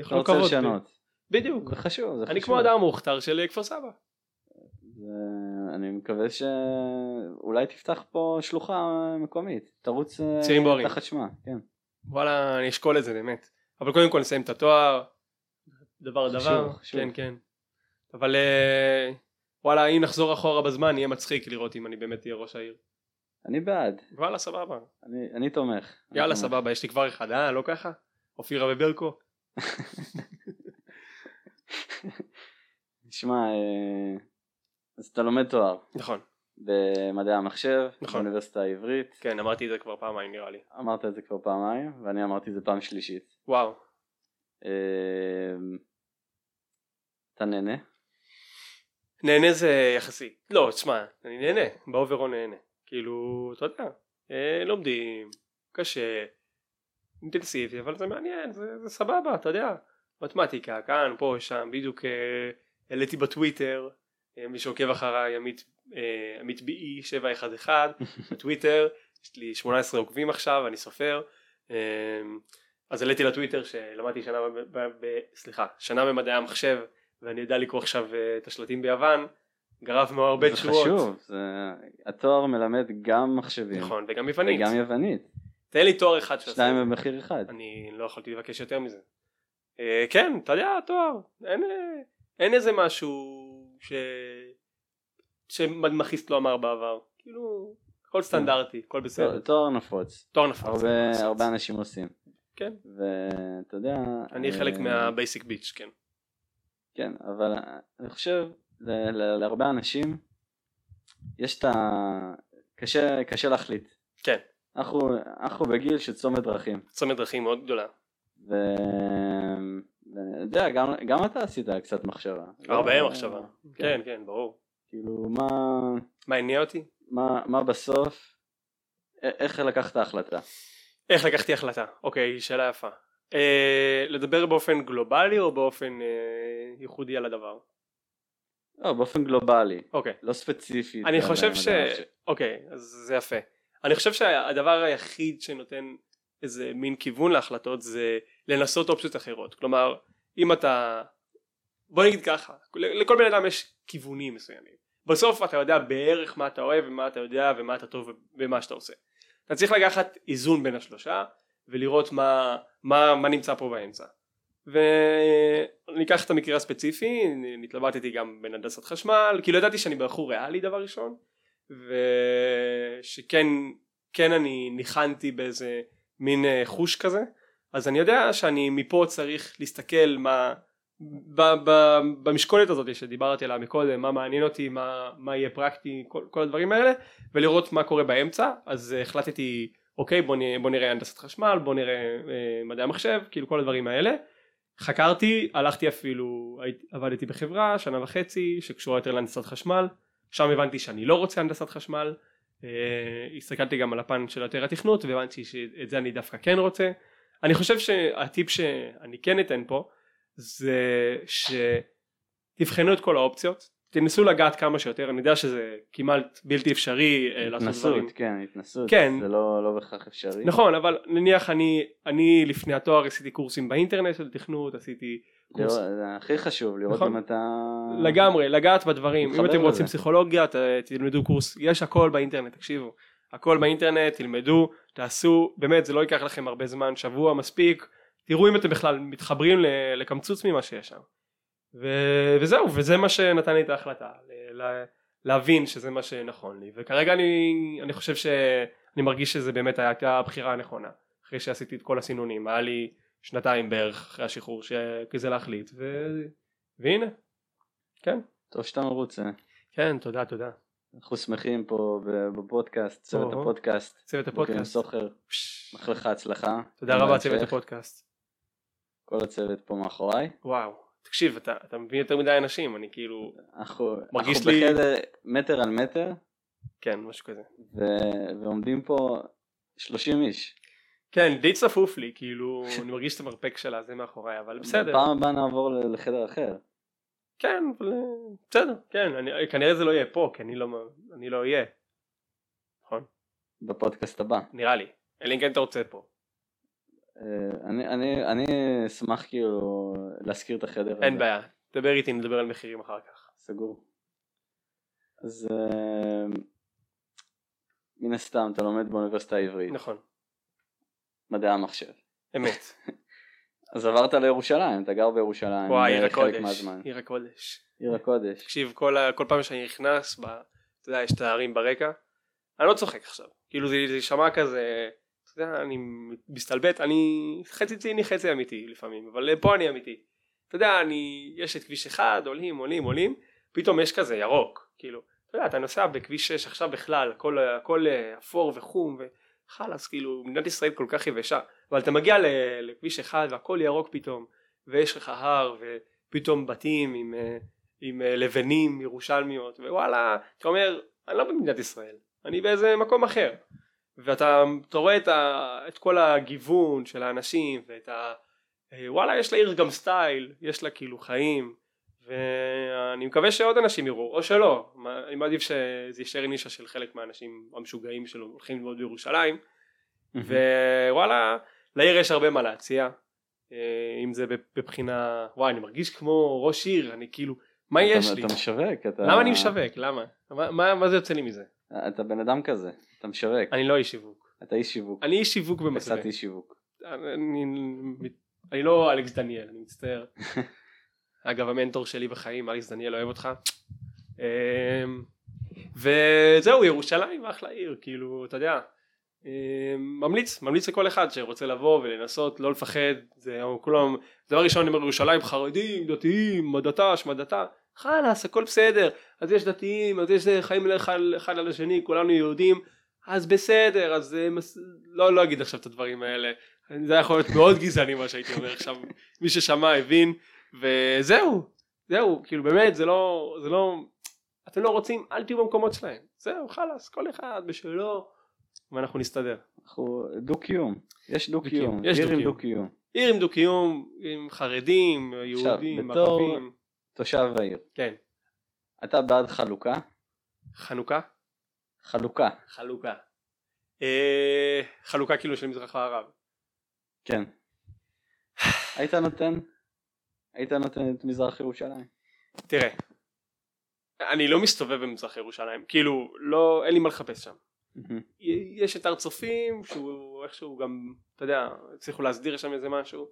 A: אתה
B: יכול
A: רוצה
B: לקוות.
A: לשנות.
B: בדיוק.
A: לא זה חשוב, זה חשוב.
B: אני כמו אדם מוכתר של אה, כפר סבא.
A: זה- אני מקווה שאולי תפתח פה שלוחה מקומית, תרוץ אה,
B: צעירים בוערים.
A: תחת שמה, כן.
B: וואלה, אני אשקול את זה באמת. אבל קודם כל נסיים את התואר, דבר
A: חשוב,
B: דבר,
A: חשוב.
B: כן כן. אבל אה, וואלה, אם נחזור אחורה בזמן, יהיה מצחיק לראות אם אני באמת אהיה ראש העיר.
A: אני בעד,
B: וואלה, סבבה.
A: אני, אני תומך. אני
B: יאללה,
A: תומך.
B: סבבה, יש לי כבר אחד, אה, לא ככה? אופירה וברקו?
A: שמע, אה, אז אתה לומד תואר
B: נכון,
A: במדעי המחשב,
B: נכון.
A: באוניברסיטה העברית,
B: כן, אמרתי את זה כבר פעמיים נראה לי.
A: אמרת את זה כבר פעמיים, ואני אמרתי את זה פעם שלישית.
B: וואו.
A: אה, אתה נהנה?
B: נהנה זה יחסי. לא, תשמע, אני נהנה, באוברול נהנה. כאילו, אתה יודע, אה, לומדים, קשה, אינטנסיבי, אבל זה מעניין, זה, זה סבבה, אתה יודע. מתמטיקה, כאן, פה, שם, בדיוק אה, העליתי בטוויטר, אה, מי שעוקב אחריי, עמית, אה, עמית
A: [laughs]
B: בי 711, בטוויטר, יש לי 18 עוקבים עכשיו, אני סופר. אה, אז העליתי לטוויטר שלמדתי שנה, ב, ב, ב, סליחה, שנה במדעי המחשב ואני יודע לקרוא עכשיו אה, את השלטים ביוון, גרף מאוד הרבה
A: זה
B: תשואות.
A: חשוב, זה... התואר מלמד גם מחשבים,
B: נכון, וגם יוונית.
A: וגם יוונית,
B: תן לי תואר אחד שעושה
A: שניים
B: את זה.
A: במחיר אחד.
B: אני לא יכולתי לבקש יותר מזה. אה, כן, אתה יודע, תואר. אין, אה, אין איזה משהו ש... שמדמכיסט לא אמר בעבר. כאילו,
A: כן.
B: הכל סטנדרטי, הכל בסדר.
A: תואר נפוץ,
B: תואר נפוץ. אין מה
A: לא, הרבה,
B: לעשות.
A: הרבה אנשים עושים.
B: כן.
A: ואתה יודע...
B: אני
A: אה,
B: חלק מהבייסיק ביץ', כן.
A: כן, אבל אני חושב, ל- ל- להרבה אנשים, יש את ה... קשה, קשה להחליט.
B: כן.
A: אנחנו, אנחנו בגיל של צומת דרכים.
B: צומת דרכים מאוד גדולה.
A: ו... ואני יודע, גם, גם אתה עשית קצת מחשבה.
B: הרבה
A: לא-
B: מחשבה.
A: כן.
B: כן, כן, ברור.
A: כאילו, מה,
B: מה הניע אותי?
A: מה, מה בסוף, א- איך לקחת החלטה?
B: איך לקחתי החלטה? אוקיי, שאלה יפה. אה, לדבר באופן גלובלי או באופן אה, ייחודי על הדבר?
A: לא, באופן גלובלי,
B: אוקיי.
A: לא ספציפית.
B: אני
A: על
B: חושב
A: המדע
B: ש...
A: המחשב.
B: אוקיי, אז זה יפה. אני חושב שהדבר היחיד שנותן איזה מין כיוון להחלטות זה לנסות אופציות אחרות. כלומר, אם אתה... בוא נגיד ככה, ל- לכל בן אדם יש כיוונים מסוימים. בסוף אתה יודע בערך מה אתה אוהב ומה אתה יודע ומה אתה טוב ומה שאתה עושה. אתה צריך לקחת איזון בין השלושה ולראות מה, מה, מה נמצא פה באמצע. וניקח את המקרה הספציפי, נ- התלבטתי גם בין הנדסת חשמל, כאילו ידעתי שאני בחור ריאלי דבר ראשון, ושכן כן אני ניחנתי באיזה מין אה, חוש כזה, אז אני יודע שאני מפה צריך להסתכל מה, ב, ב, במשקולת הזאת שדיברתי עליה מקודם, מה מעניין אותי, מה, מה יהיה פרקטי, כל, כל הדברים האלה, ולראות מה קורה באמצע, אז אה, החלטתי אוקיי בוא, נ, בוא נראה הנדסת חשמל, בוא נראה אה, מדעי המחשב, כאילו כל הדברים האלה, חקרתי, הלכתי אפילו, הייתי- עבדתי בחברה שנה וחצי שקשורה יותר להנדסת חשמל, שם הבנתי שאני לא רוצה הנדסת חשמל, אה, הסתכלתי גם על הפן של יותר התכנות והבנתי שאת זה אני דווקא כן רוצה. אני חושב שהטיפ שאני כן אתן פה זה שתבחנו את כל האופציות, תנסו לגעת כמה שיותר, אני יודע שזה כמעט בלתי אפשרי אה, לעשות דברים.
A: התנסות, כן, התנסות,
B: כן.
A: זה לא לא בהכרח אפשרי.
B: נכון אבל נניח אני אני לפני התואר עשיתי קורסים באינטרנט של תכנות עשיתי
A: זה- לא,
B: קורס
A: זה הכי חשוב, לראות
B: נכון.
A: אם אתה...
B: לגמרי לגעת בדברים אם
A: מתחבר
B: אתם
A: לזה.
B: רוצים פסיכולוגיה ת, תלמדו קורס יש הכל באינטרנט תקשיבו הכל באינטרנט תלמדו תעשו באמת זה לא ייקח לכם הרבה זמן שבוע מספיק תראו אם אתם בכלל מתחברים ל- לקמצוץ ממה שיש שם ו, וזהו וזה מה שנתן לי את ההחלטה ל, ל, להבין שזה מה שנכון לי וכרגע אני, אני חושב שאני מרגיש שזה באמת הייתה הבחירה הנכונה אחרי שעשיתי את כל הסינונים היה לי שנתיים בערך אחרי השחרור ש- כזה להחליט ו... והנה
A: טוב שאתה מרוצה.
B: כן, תודה, תודה.
A: אנחנו שמחים פה ב- בפודקאסט, צוות
B: או-הו.
A: הפודקאסט.
B: צוות
A: בוקר
B: הפודקאסט.
A: סוחר,
B: פש,
A: מאחל לך הצלחה.
B: תודה רבה,
A: בהמשך.
B: צוות הפודקאסט.
A: כל הצוות פה מאחוריי.
B: וואו, תקשיב, אתה אתה מבין יותר מדי אנשים, אני כאילו...
A: אנחנו אנחנו
B: מרגיש לי-
A: בחדר מטר על מטר,
B: כן, משהו כזה.
A: ו- ועומדים פה 30 איש.
B: כן, די צפוף לי, כאילו, אני מרגיש את המרפק שלה, זה מאחוריי, אבל בסדר.
A: פעם הבאה נעבור ל- לחדר אחר.
B: כן, אבל אה, בסדר, כן, אני- כנראה זה לא יהיה פה, כי אני לא מ- אני לא אהיה, נכון?
A: בפודקאסט הבא.
B: נראה לי. אלא אם כן אתה רוצה פה.
A: לא אה, אני, אני, אני אשמח כאילו להזכיר את החדר הזה.
B: אין בעיה, תדבר איתי, נדבר על מחירים אחר כך.
A: סגור. אז אה, מן הסתם אתה לומד באוניברסיטה העברית,
B: נכון,
A: מדעי המחשב.
B: אמת.
A: אז עברת לירושלים, אתה גר בירושלים.
B: וואי,
A: אה,
B: עיר
A: חלק
B: הקודש,
A: מהזמן.
B: עיר הקודש.
A: עיר הקודש.
B: תקשיב כל, ה- כל פעם שאני נכנס ב, אתה יודע יש את הערים ברקע אני לא צוחק עכשיו כאילו זה זה יישמע כזה אתה יודע אני מסתלבט אני חצי ציני חצי אמיתי לפעמים אבל אה, פה אני אמיתי אתה יודע אני יש את כביש אחד עולים עולים עולים פתאום יש כזה ירוק כאילו אתה יודע אתה נוסע בכביש 6 עכשיו בכלל הכל, הכל אה, אפור וחום וחלאס כאילו מדינת ישראל כל כך יבשה אבל אתה מגיע ל- לכביש אחד והכל ירוק פתאום ויש לך הר ופתאום בתים עם אה, עם אה, לבנים ירושלמיות ווואלה אתה אומר אני לא במדינת ישראל אני באיזה מקום אחר ואתה אתה רואה את, ה, את כל הגיוון של האנשים ואת ה... אה, וואלה יש לעיר גם סטייל יש לה כאילו חיים ואני מקווה שעוד אנשים יראו או שלא מה- אני מעדיף שזה יישאר נישה של חלק מהאנשים המשוגעים שלו הולכים ללמוד בירושלים ווואלה לעיר יש הרבה מה להציע אה, אם זה בבחינה וואי אני מרגיש כמו ראש עיר אני כאילו מה
A: אתה-
B: יש לי
A: אתה משווק, אתה...
B: למה אני משווק למה מה- מה מה זה יוצא לי מזה
A: אתה בן אדם כזה, אתה משווק,
B: אני לא איש שיווק
A: אתה איש שיווק.
B: אני לא איש שיווק במסווה
A: קצת איש שיווק.
B: אני אני לא אלכס דניאל אני מצטער אגב המנטור שלי בחיים אלכס דניאל אוהב אותך אמ, וזהו ירושלים אחלה עיר כאילו אתה יודע אמ, ממליץ ממליץ לכל אחד שרוצה לבוא ולנסות לא לפחד זה כולם דבר ראשון אני אומר ירושלים חרדים דתיים מה דתה שמה דתה חלאס הכל בסדר אז יש דתיים אז יש אה, חיים אלה אחד אחד על השני כולנו יהודים אז בסדר אז אה, מס... לא לא אגיד עכשיו את הדברים האלה זה היה יכול להיות מאוד גזעני מה שהייתי אומר עכשיו מי ששמע הבין וזהו זהו כאילו באמת זה לא זה לא אתם לא רוצים אל תהיו במקומות שלהם זהו חלאס כל אחד בשלו ואנחנו נסתדר
A: אנחנו דו-קיום. יש דו-קיום.
B: יש
A: עיר עם
B: דו-קיום.
A: דו-קיום.
B: עיר עם דו קיום עם חרדים
A: עכשיו,
B: יהודים
A: בתור-
B: ערבים
A: תושב העיר.
B: כן
A: אתה בעד חלוקה?
B: חנוכה
A: חלוקה.
B: חלוקה אה, חלוקה כאילו של מזרח הערב
A: כן. היית נותן? היית נותן את מזרח ירושלים?
B: תראה, אני לא מסתובב במזרח ירושלים, כאילו, לא, אין לי מה לחפש שם.
A: Mm-hmm.
B: יש את הר צופים, שהוא איכשהו גם, אתה יודע, הצליחו להסדיר שם איזה משהו.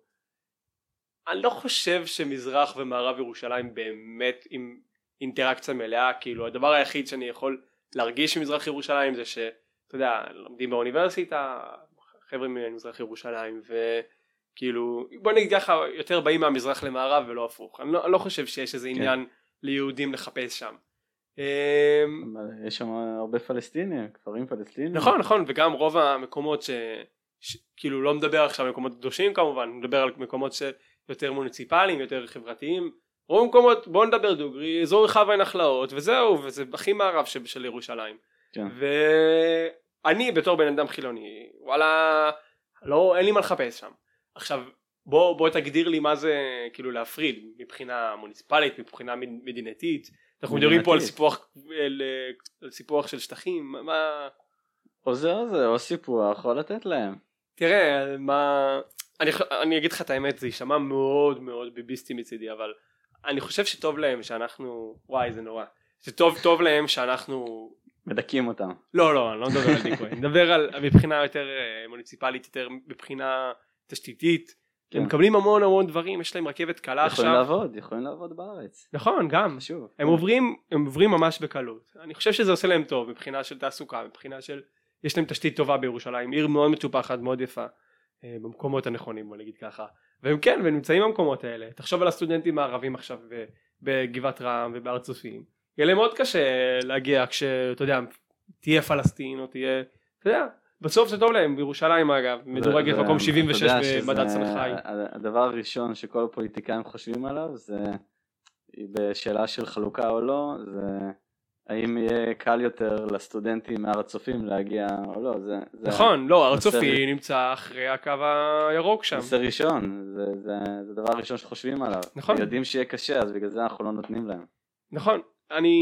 B: אני לא חושב שמזרח ומערב ירושלים באמת עם אינטראקציה מלאה, כאילו, הדבר היחיד שאני יכול להרגיש ממזרח ירושלים זה ש... אתה יודע, לומדים באוניברסיטה, חבר'ה ממזרח ירושלים, וכאילו, בוא נגיד ככה, יותר באים מהמזרח למערב ולא הפוך. אני לא, אני לא חושב שיש איזה עניין ליהודים לחפש שם. אמ,
A: אבל יש שם הרבה פלסטינים, כפרים פלסטינים.
B: נכון נכון וגם רוב המקומות ש... ש... כאילו לא מדבר עכשיו על מקומות קדושים כמובן מדבר על מקומות ש... יותר מוניציפליים, יותר חברתיים. רוב המקומות, בואו נדבר דוגרי, אזור רחב הנחלאות, וזהו, וזה הכי מערב של, של ירושלים.
A: כן.
B: ואני בתור בן אדם חילוני, וואלה, לא, אין לי מה לחפש שם. עכשיו, בוא, בוא תגדיר לי מה זה כאילו להפריד מבחינה מוניציפלית, מבחינה מד- מדינתית. אנחנו מדברים פה על
A: מדינתית.
B: סיפוח, על, אה, על סיפוח של שטחים, מה- מה...
A: או זה או זה, או סיפוח, או לתת להם.
B: תראה, מה... אני, ח- אני אגיד לך את האמת, זה יישמע מאוד מאוד ביביסטי מצידי, אבל אני חושב שטוב להם שאנחנו... וואי, זה נורא. זה טוב, טוב להם שאנחנו...
A: מדכאים אותם.
B: לא, לא, אני לא מדבר על דיכוי, אני מדבר על מבחינה יותר אה, מוניציפלית, יותר מבחינה תשתיתית.
A: כן.
B: הם מקבלים המון המון דברים, יש להם רכבת קלה
A: יכולים
B: עכשיו.
A: לעבוד, יכולים לעבוד בארץ.
B: נכון, גם.
A: חשוב.
B: הם עוברים, הם עוברים ממש בקלות. אני חושב שזה עושה להם טוב מבחינה של תעסוקה, מבחינה של... יש להם תשתית טובה בירושלים, עיר מאוד מטופחת, מאוד יפה, אה, במקומות הנכונים, בוא נגיד ככה. והם כן, והם נמצאים במקומות האלה. תחשוב על הסטודנטים הערבים עכשיו ב- בגבעת רם ובהר צופים. יהיה להם מאוד קשה להגיע כשאתה יודע, תהיה פלסטין או תהיה, אתה יודע, בסוף זה טוב להם, בירושלים אגב, מדורגת
A: ו-
B: מקום
A: ו-
B: 76
A: אתה יודע
B: במדד
A: שזה
B: סנגחאי.
A: ה- הדבר הראשון שכל הפוליטיקאים חושבים עליו זה בשאלה של חלוקה או לא, זה האם יהיה קל יותר לסטודנטים מהר הצופים להגיע או לא, זה... זה
B: נכון, לא, הר
A: נושא-
B: צופי נמצא אחרי הקו הירוק שם.
A: נושא ראשון, זה, זה, זה הדבר הראשון שחושבים עליו.
B: נכון.
A: יודעים שיהיה קשה, אז בגלל זה אנחנו לא נותנים להם.
B: נכון, אני,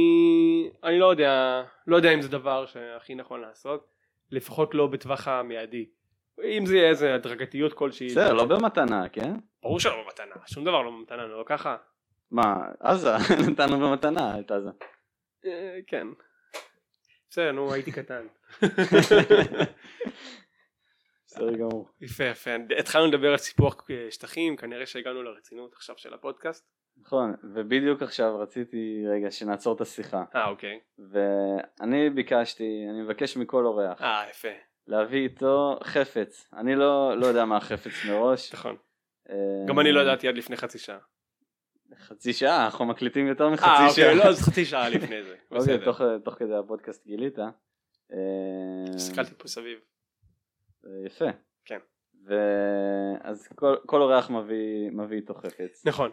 B: אני לא יודע, לא יודע אם זה דבר שהכי נכון לעשות, לפחות לא בטווח המיידי. אם זה יהיה איזה הדרגתיות כלשהי.
A: בסדר, לא במתנה, כן?
B: ברור שלא במתנה, שום דבר לא במתנה, לא ככה.
A: מה, עזה, [laughs] נתנו במתנה את
B: [laughs]
A: עזה.
B: אה, כן. בסדר, נו, הייתי
A: [laughs]
B: קטן.
A: בסדר גמור.
B: יפה, יפה. התחלנו לדבר על סיפוח אה, שטחים, כנראה שהגענו לרצינות עכשיו של הפודקאסט.
A: נכון, ובדיוק עכשיו רציתי רגע שנעצור את השיחה.
B: אה, אוקיי.
A: ואני ביקשתי, אני מבקש מכל אורח,
B: אה, יפה.
A: להביא איתו חפץ. אני לא, לא יודע מה החפץ מראש.
B: נכון.
A: אה,
B: גם אני לא ידעתי עד לפני חצי שעה.
A: חצי שעה, אנחנו מקליטים יותר מחצי
B: אה,
A: שעה.
B: אוקיי, לא, אז חצי שעה לפני זה.
A: [laughs] אוקיי,
B: בסדר.
A: תוך, תוך כדי הפודקאסט גילית. אה,
B: הסתכלתי פה סביב.
A: אה, יפה.
B: כן.
A: ואז כל, כל אורח מביא, מביא איתו חפץ.
B: נכון,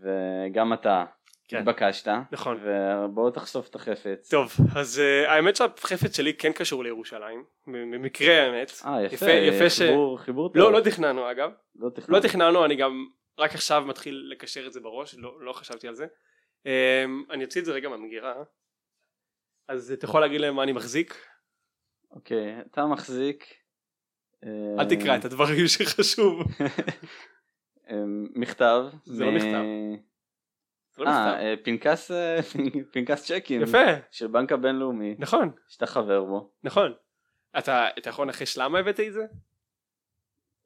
A: וגם אתה
B: כן.
A: התבקשת.
B: נכון.
A: ובואו תחשוף את החפץ.
B: טוב, אז uh, האמת שהחפץ שלי כן קשור לירושלים, במקרה האמת.
A: אה, יפה,
B: יפה, יפה ש-
A: חיבור, חיבור טוב.
B: לא, לא תכננו אגב,
A: לא תכנן.
B: לא תכננו, אני גם רק עכשיו מתחיל לקשר את זה בראש, לא, לא חשבתי על זה. Um, אני אוציא את זה רגע מהמגירה, אז אתה יכול להגיד להם מה אני מחזיק?
A: אה. אוקיי, אתה מחזיק... אה,
B: אל תקרא את הדברים [laughs] שחשוב.
A: אה, מכתב.
B: זה לא מכתב. זה לא
A: אה,
B: מכתב.
A: אה, פנקס, אה, פנקס צ'קים.
B: יפה,
A: של בנק הבינלאומי,
B: נכון,
A: שאתה חבר בו.
B: נכון. אתה, אתה יכול לנחש למה הבאתי את זה?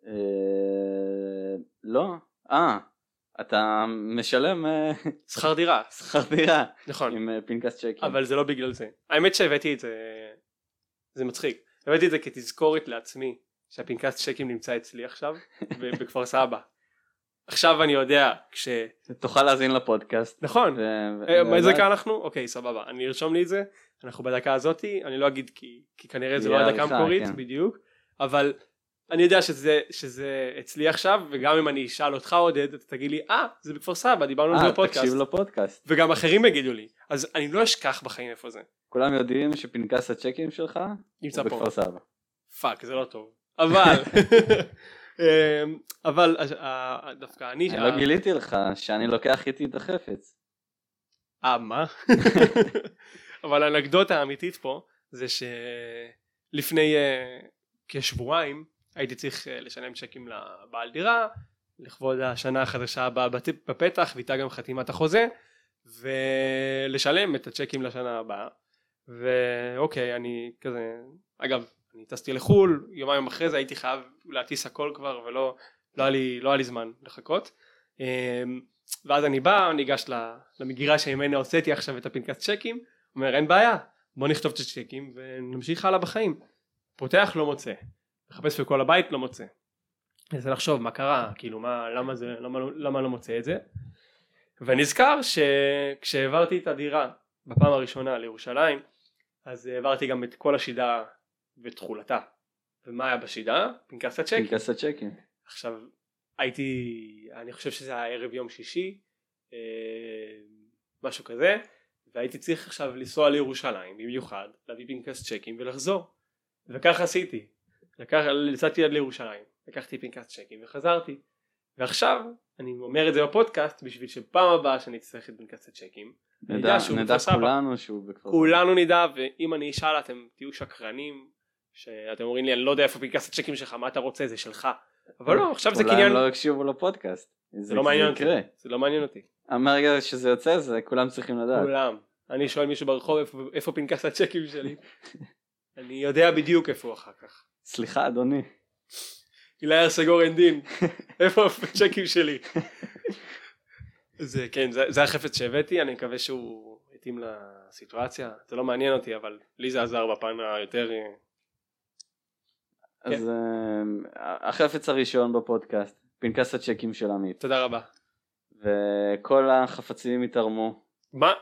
A: אה, לא. אה, אתה משלם אה, [laughs]
B: שכר דירה,
A: שכר דירה
B: נכון.
A: עם אה, פנקס צ'קים.
B: אבל זה לא בגלל זה. האמת שהבאתי את זה, זה מצחיק. הבאתי את זה כתזכורת לעצמי שהפנקס צ'קים נמצא אצלי עכשיו,
A: [laughs]
B: ב- בכפר סבא. עכשיו אני יודע, כש...
A: תוכל להאזין לפודקאסט.
B: נכון,
A: ו-
B: אה,
A: ו-
B: באיזה
A: ואז
B: דקה אנחנו? אוקיי, סבבה, אני ארשום לי את זה, אנחנו בדקה הזאתי, אני לא אגיד כי, כי כנראה זה לא
A: יהיה
B: הדקה
A: עריכה,
B: המקורית,
A: כן.
B: בדיוק, אבל אני יודע שזה, שזה אצלי עכשיו, וגם אם אני אשאל אותך עודד, אתה תגיד לי, אה, זה בכפר סבא, דיברנו על זה
A: אה,
B: בפודקאסט,
A: תקשיב לפודקאסט.
B: וגם אחרים יגידו לי, אז אני לא אשכח בחיים איפה זה,
A: כולם יודעים שפנקס הצ'קים שלך
B: נמצא
A: הוא
B: פה.
A: בכפר סבא.
B: פאק זה לא טוב
A: [laughs]
B: אבל אמ, אבל אה, אה, דווקא אני
A: אני לא גיליתי לך שאני לוקח איתי את החפץ.
B: אה
A: [laughs]
B: מה אבל האנקדוטה האמיתית פה זה שלפני אה, כשבועיים הייתי צריך אה, לשלם צ'קים לבעל דירה לכבוד השנה החדשה הבאה בת- בפתח ואיתה גם חתימת החוזה ולשלם את הצ'קים לשנה הבאה ואוקיי אני כזה אגב אני טסתי לחו"ל יומיים אחרי זה הייתי חייב להטיס הכל כבר ולא לא היה לי, לא היה לי זמן לחכות אמ, ואז אני בא ניגש ל- למגירה שממנה הוצאתי עכשיו את הפנקס צ'קים אומר אין בעיה בוא נכתוב את הצ'קים ונמשיך הלאה בחיים פותח לא מוצא מחפש בכל הבית לא מוצא מנסה לחשוב מה קרה כאילו מה למה זה למה, לא- למה לא מוצא את זה ונזכר שכשהעברתי את הדירה בפעם הראשונה לירושלים אז העברתי גם את כל השידה ותכולתה ומה היה בשידה? פנקס הצ'קים
A: פנקס הצ'קים.
B: עכשיו הייתי, אני חושב שזה היה ערב יום שישי, אה, משהו כזה, והייתי צריך עכשיו לנסוע לירושלים במיוחד, להביא פנקס צ'קים ולחזור. וכך עשיתי. לקח, יצאתי עד לירושלים, לקחתי פנקס צ'קים וחזרתי. ועכשיו, אני אומר את זה בפודקאסט בשביל שפעם הבאה שאני אצטרך את פנקס הצ'קים,
A: נדע,
B: נדע שהוא
A: נדע
B: בכפר סבא.
A: כולנו שהוא בכפר סבא.
B: כולנו נדע, ואם אני אשאל אתם תהיו שקרנים, שאתם אומרים לי אני לא יודע איפה פנקס הצ'קים שלך, מה אתה רוצה, זה שלך. אבל לא, עכשיו זה
A: אולי
B: קניין,
A: הם לא הקשיבו לפודקאסט. זה
B: לא מעניין אותי.
A: יקרה.
B: זה לא מעניין אותי.
A: המרגע שזה יוצא זה כולם צריכים לדעת.
B: כולם. אני שואל מישהו ברחוב "איפה- איפה פנקס הצ'קים שלי. אני יודע בדיוק איפה הוא אחר כך.
A: סליחה אדוני.
B: הילה ארסגור אין דין, איפה הצ'קים שלי? זה כן, זה, זה החפץ שהבאתי, אני מקווה שהוא התאים לסיטואציה. זה לא מעניין אותי, אבל לי זה עזר בפן היותר... אה, כן.
A: אז אה, החפץ הראשון בפודקאסט, פנקס הצ'קים של עמית.
B: תודה רבה.
A: וכל החפצים יתרמו
B: מה?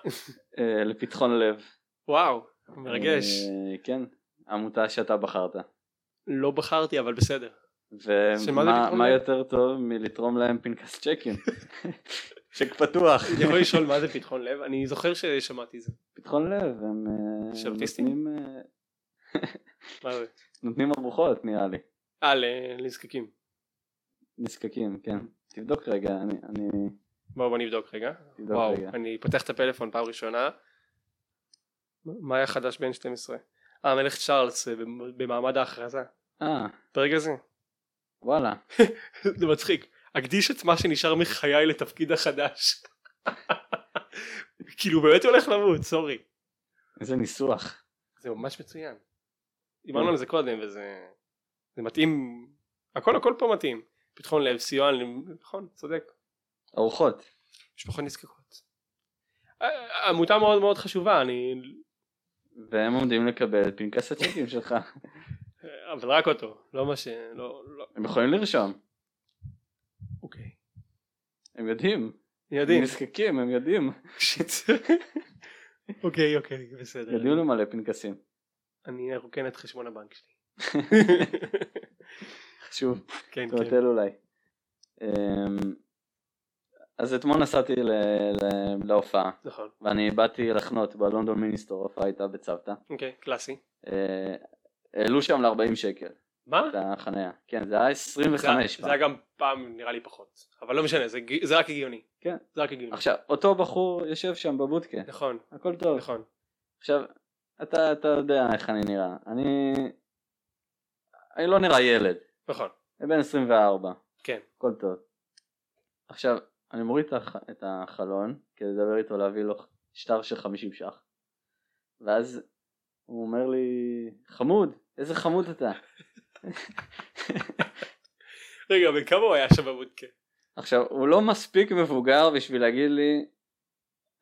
A: אה, לפתחון לב.
B: וואו, מרגש.
A: אה, כן, עמותה שאתה בחרת.
B: לא בחרתי, אבל בסדר. שמה זה
A: ומה
B: פתחון
A: מה
B: לב?
A: יותר טוב מלתרום להם פנקס
B: [laughs]
A: צ'קים? צ'ק [laughs] פתוח.
B: אני יכול לשאול מה זה פתחון לב? אני זוכר ששמעתי את זה.
A: פתחון לב, הם אה,
B: שבטיסטים?
A: נותנים, אה,
B: מה זה?
A: נותנים ארוחות נראה לי.
B: אה, ל- לנזקקים.
A: נזקקים, כן. תבדוק רגע, אני... אני...
B: בואו בוא נבדוק רגע.
A: תבדוק
B: וואו,
A: רגע.
B: אני פותח את הפלאפון פעם ראשונה. מה היה חדש בין 12? אה, המלך צ'ארלס אה, במ- במעמד ההכרזה.
A: אה,
B: פרק הזה.
A: וואלה.
B: [laughs] זה מצחיק. אקדיש את מה שנשאר מחיי לתפקיד החדש. [laughs] כאילו באמת הולך למות, סורי.
A: איזה ניסוח.
B: זה ממש מצוין. דיברנו על זה קודם וזה זה מתאים, הכל הכל פה מתאים. פתחון לב, סיוע, ל- נכון, צודק.
A: ארוחות.
B: משפחות נזקקות. אה, עמותה מאוד מאוד חשובה, אני...
A: והם עומדים לקבל את פנקס
B: [laughs]
A: הצ'קים שלך.
B: אה, אבל רק אותו, לא מה ש... לא, לא,
A: הם יכולים לרשום.
B: אוקיי.
A: הם יודעים.
B: אני
A: הם
B: יודעים.
A: נזקקים, הם יודעים.
B: אוקיי, אוקיי, בסדר.
A: יודעים למלא
B: [laughs]
A: פנקסים.
B: אני ארוקן את חשבון הבנק שלי.
A: חשוב.
B: כן, כן.
A: טוטל אולי. אמ, אז אתמול נסעתי ל- ל- להופעה,
B: נכון.
A: ואני באתי לחנות בלונדון מיניסטור, ההופעה הייתה בצוותא.
B: אוקיי, קלאסי.
A: אה, העלו שם ל-40 שקל,
B: מה?
A: את החניה. כן, זה היה 25
B: זה היה
A: פעם.
B: גם פעם נראה לי פחות. אבל לא משנה, זה גי- זה רק הגיוני.
A: כן.
B: זה רק הגיוני.
A: עכשיו, אותו בחור יושב שם בבודקה,
B: נכון,
A: הכל טוב.
B: נכון.
A: עכשיו, אתה, אתה יודע איך אני נראה. אני... אני לא נראה ילד.
B: נכון.
A: אני בן 24.
B: כן.
A: הכל טוב. עכשיו, אני מוריד את הח- את החלון כדי לדבר איתו להביא לו שטר של 50 ש"ח. ואז הוא אומר לי, חמוד, איזה חמוד אתה.
B: רגע, בן כמה הוא היה שם כן. בבודקה?
A: עכשיו, הוא לא מספיק מבוגר בשביל להגיד לי,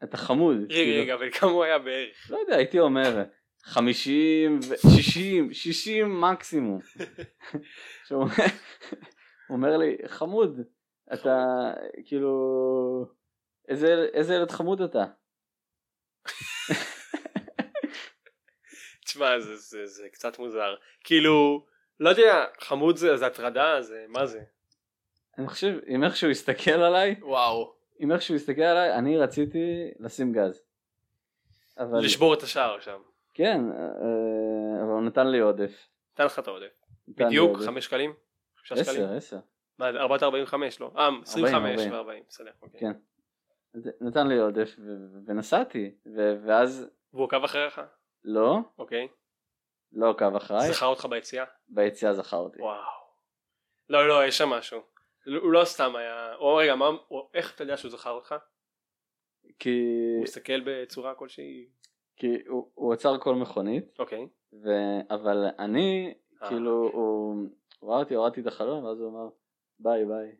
A: אתה חמוד. כאילו,
B: רגע, רגע, בן כמה הוא היה בערך?
A: לא יודע, הייתי אומר 50, ו- 60, 60
B: [laughs]
A: מקסימום. שהוא אומר- הוא אומר לי, חמוד, אתה כאילו, איזה איזה ילד חמוד אתה.
B: תשמע, זה- זה- זה קצת מוזר. כאילו, לא יודע, חמוד זה זה הטרדה, זה מה זה?
A: אני חושב, עם איך שהוא הסתכל עליי,
B: וואו.
A: עם איך שהוא הסתכל עליי, אני רציתי לשים גז. אבל,
B: לשבור את השער שם.
A: כן, אה, אבל הוא נתן לי עודף.
B: נתן לך את העודף.
A: נתן לי
B: בדיוק,
A: עודף.
B: חמש שקלים? חמישה שקלים?
A: כן, עשר, עשר.
B: מה, 4.45 לא? אה, 25
A: 40.
B: ו-40, בסדר. אוקיי.
A: כן. אז נתן לי עודף, ו- ו- ונסעתי, ו- ואז,
B: והוא עקב אחריך?
A: לא,
B: אוקיי.
A: לא עקב אחריי,
B: זכר אותך ביציאה?
A: כן. ביציאה זכר אותי.
B: וואו. לא, לא, יש שם משהו. לא- הוא לא סתם היה... או רגע, מה... או- איך אתה יודע שהוא זכר אותך?
A: כי,
B: הוא הסתכל בצורה כלשהי?
A: כי הוא, הוא עצר כל מכונית,
B: אוקיי.
A: ו... אבל אני,
B: אה.
A: כאילו, הוא, הוא ראה אותי, הורדתי את החלום, ואז הוא אמר, ביי ביי.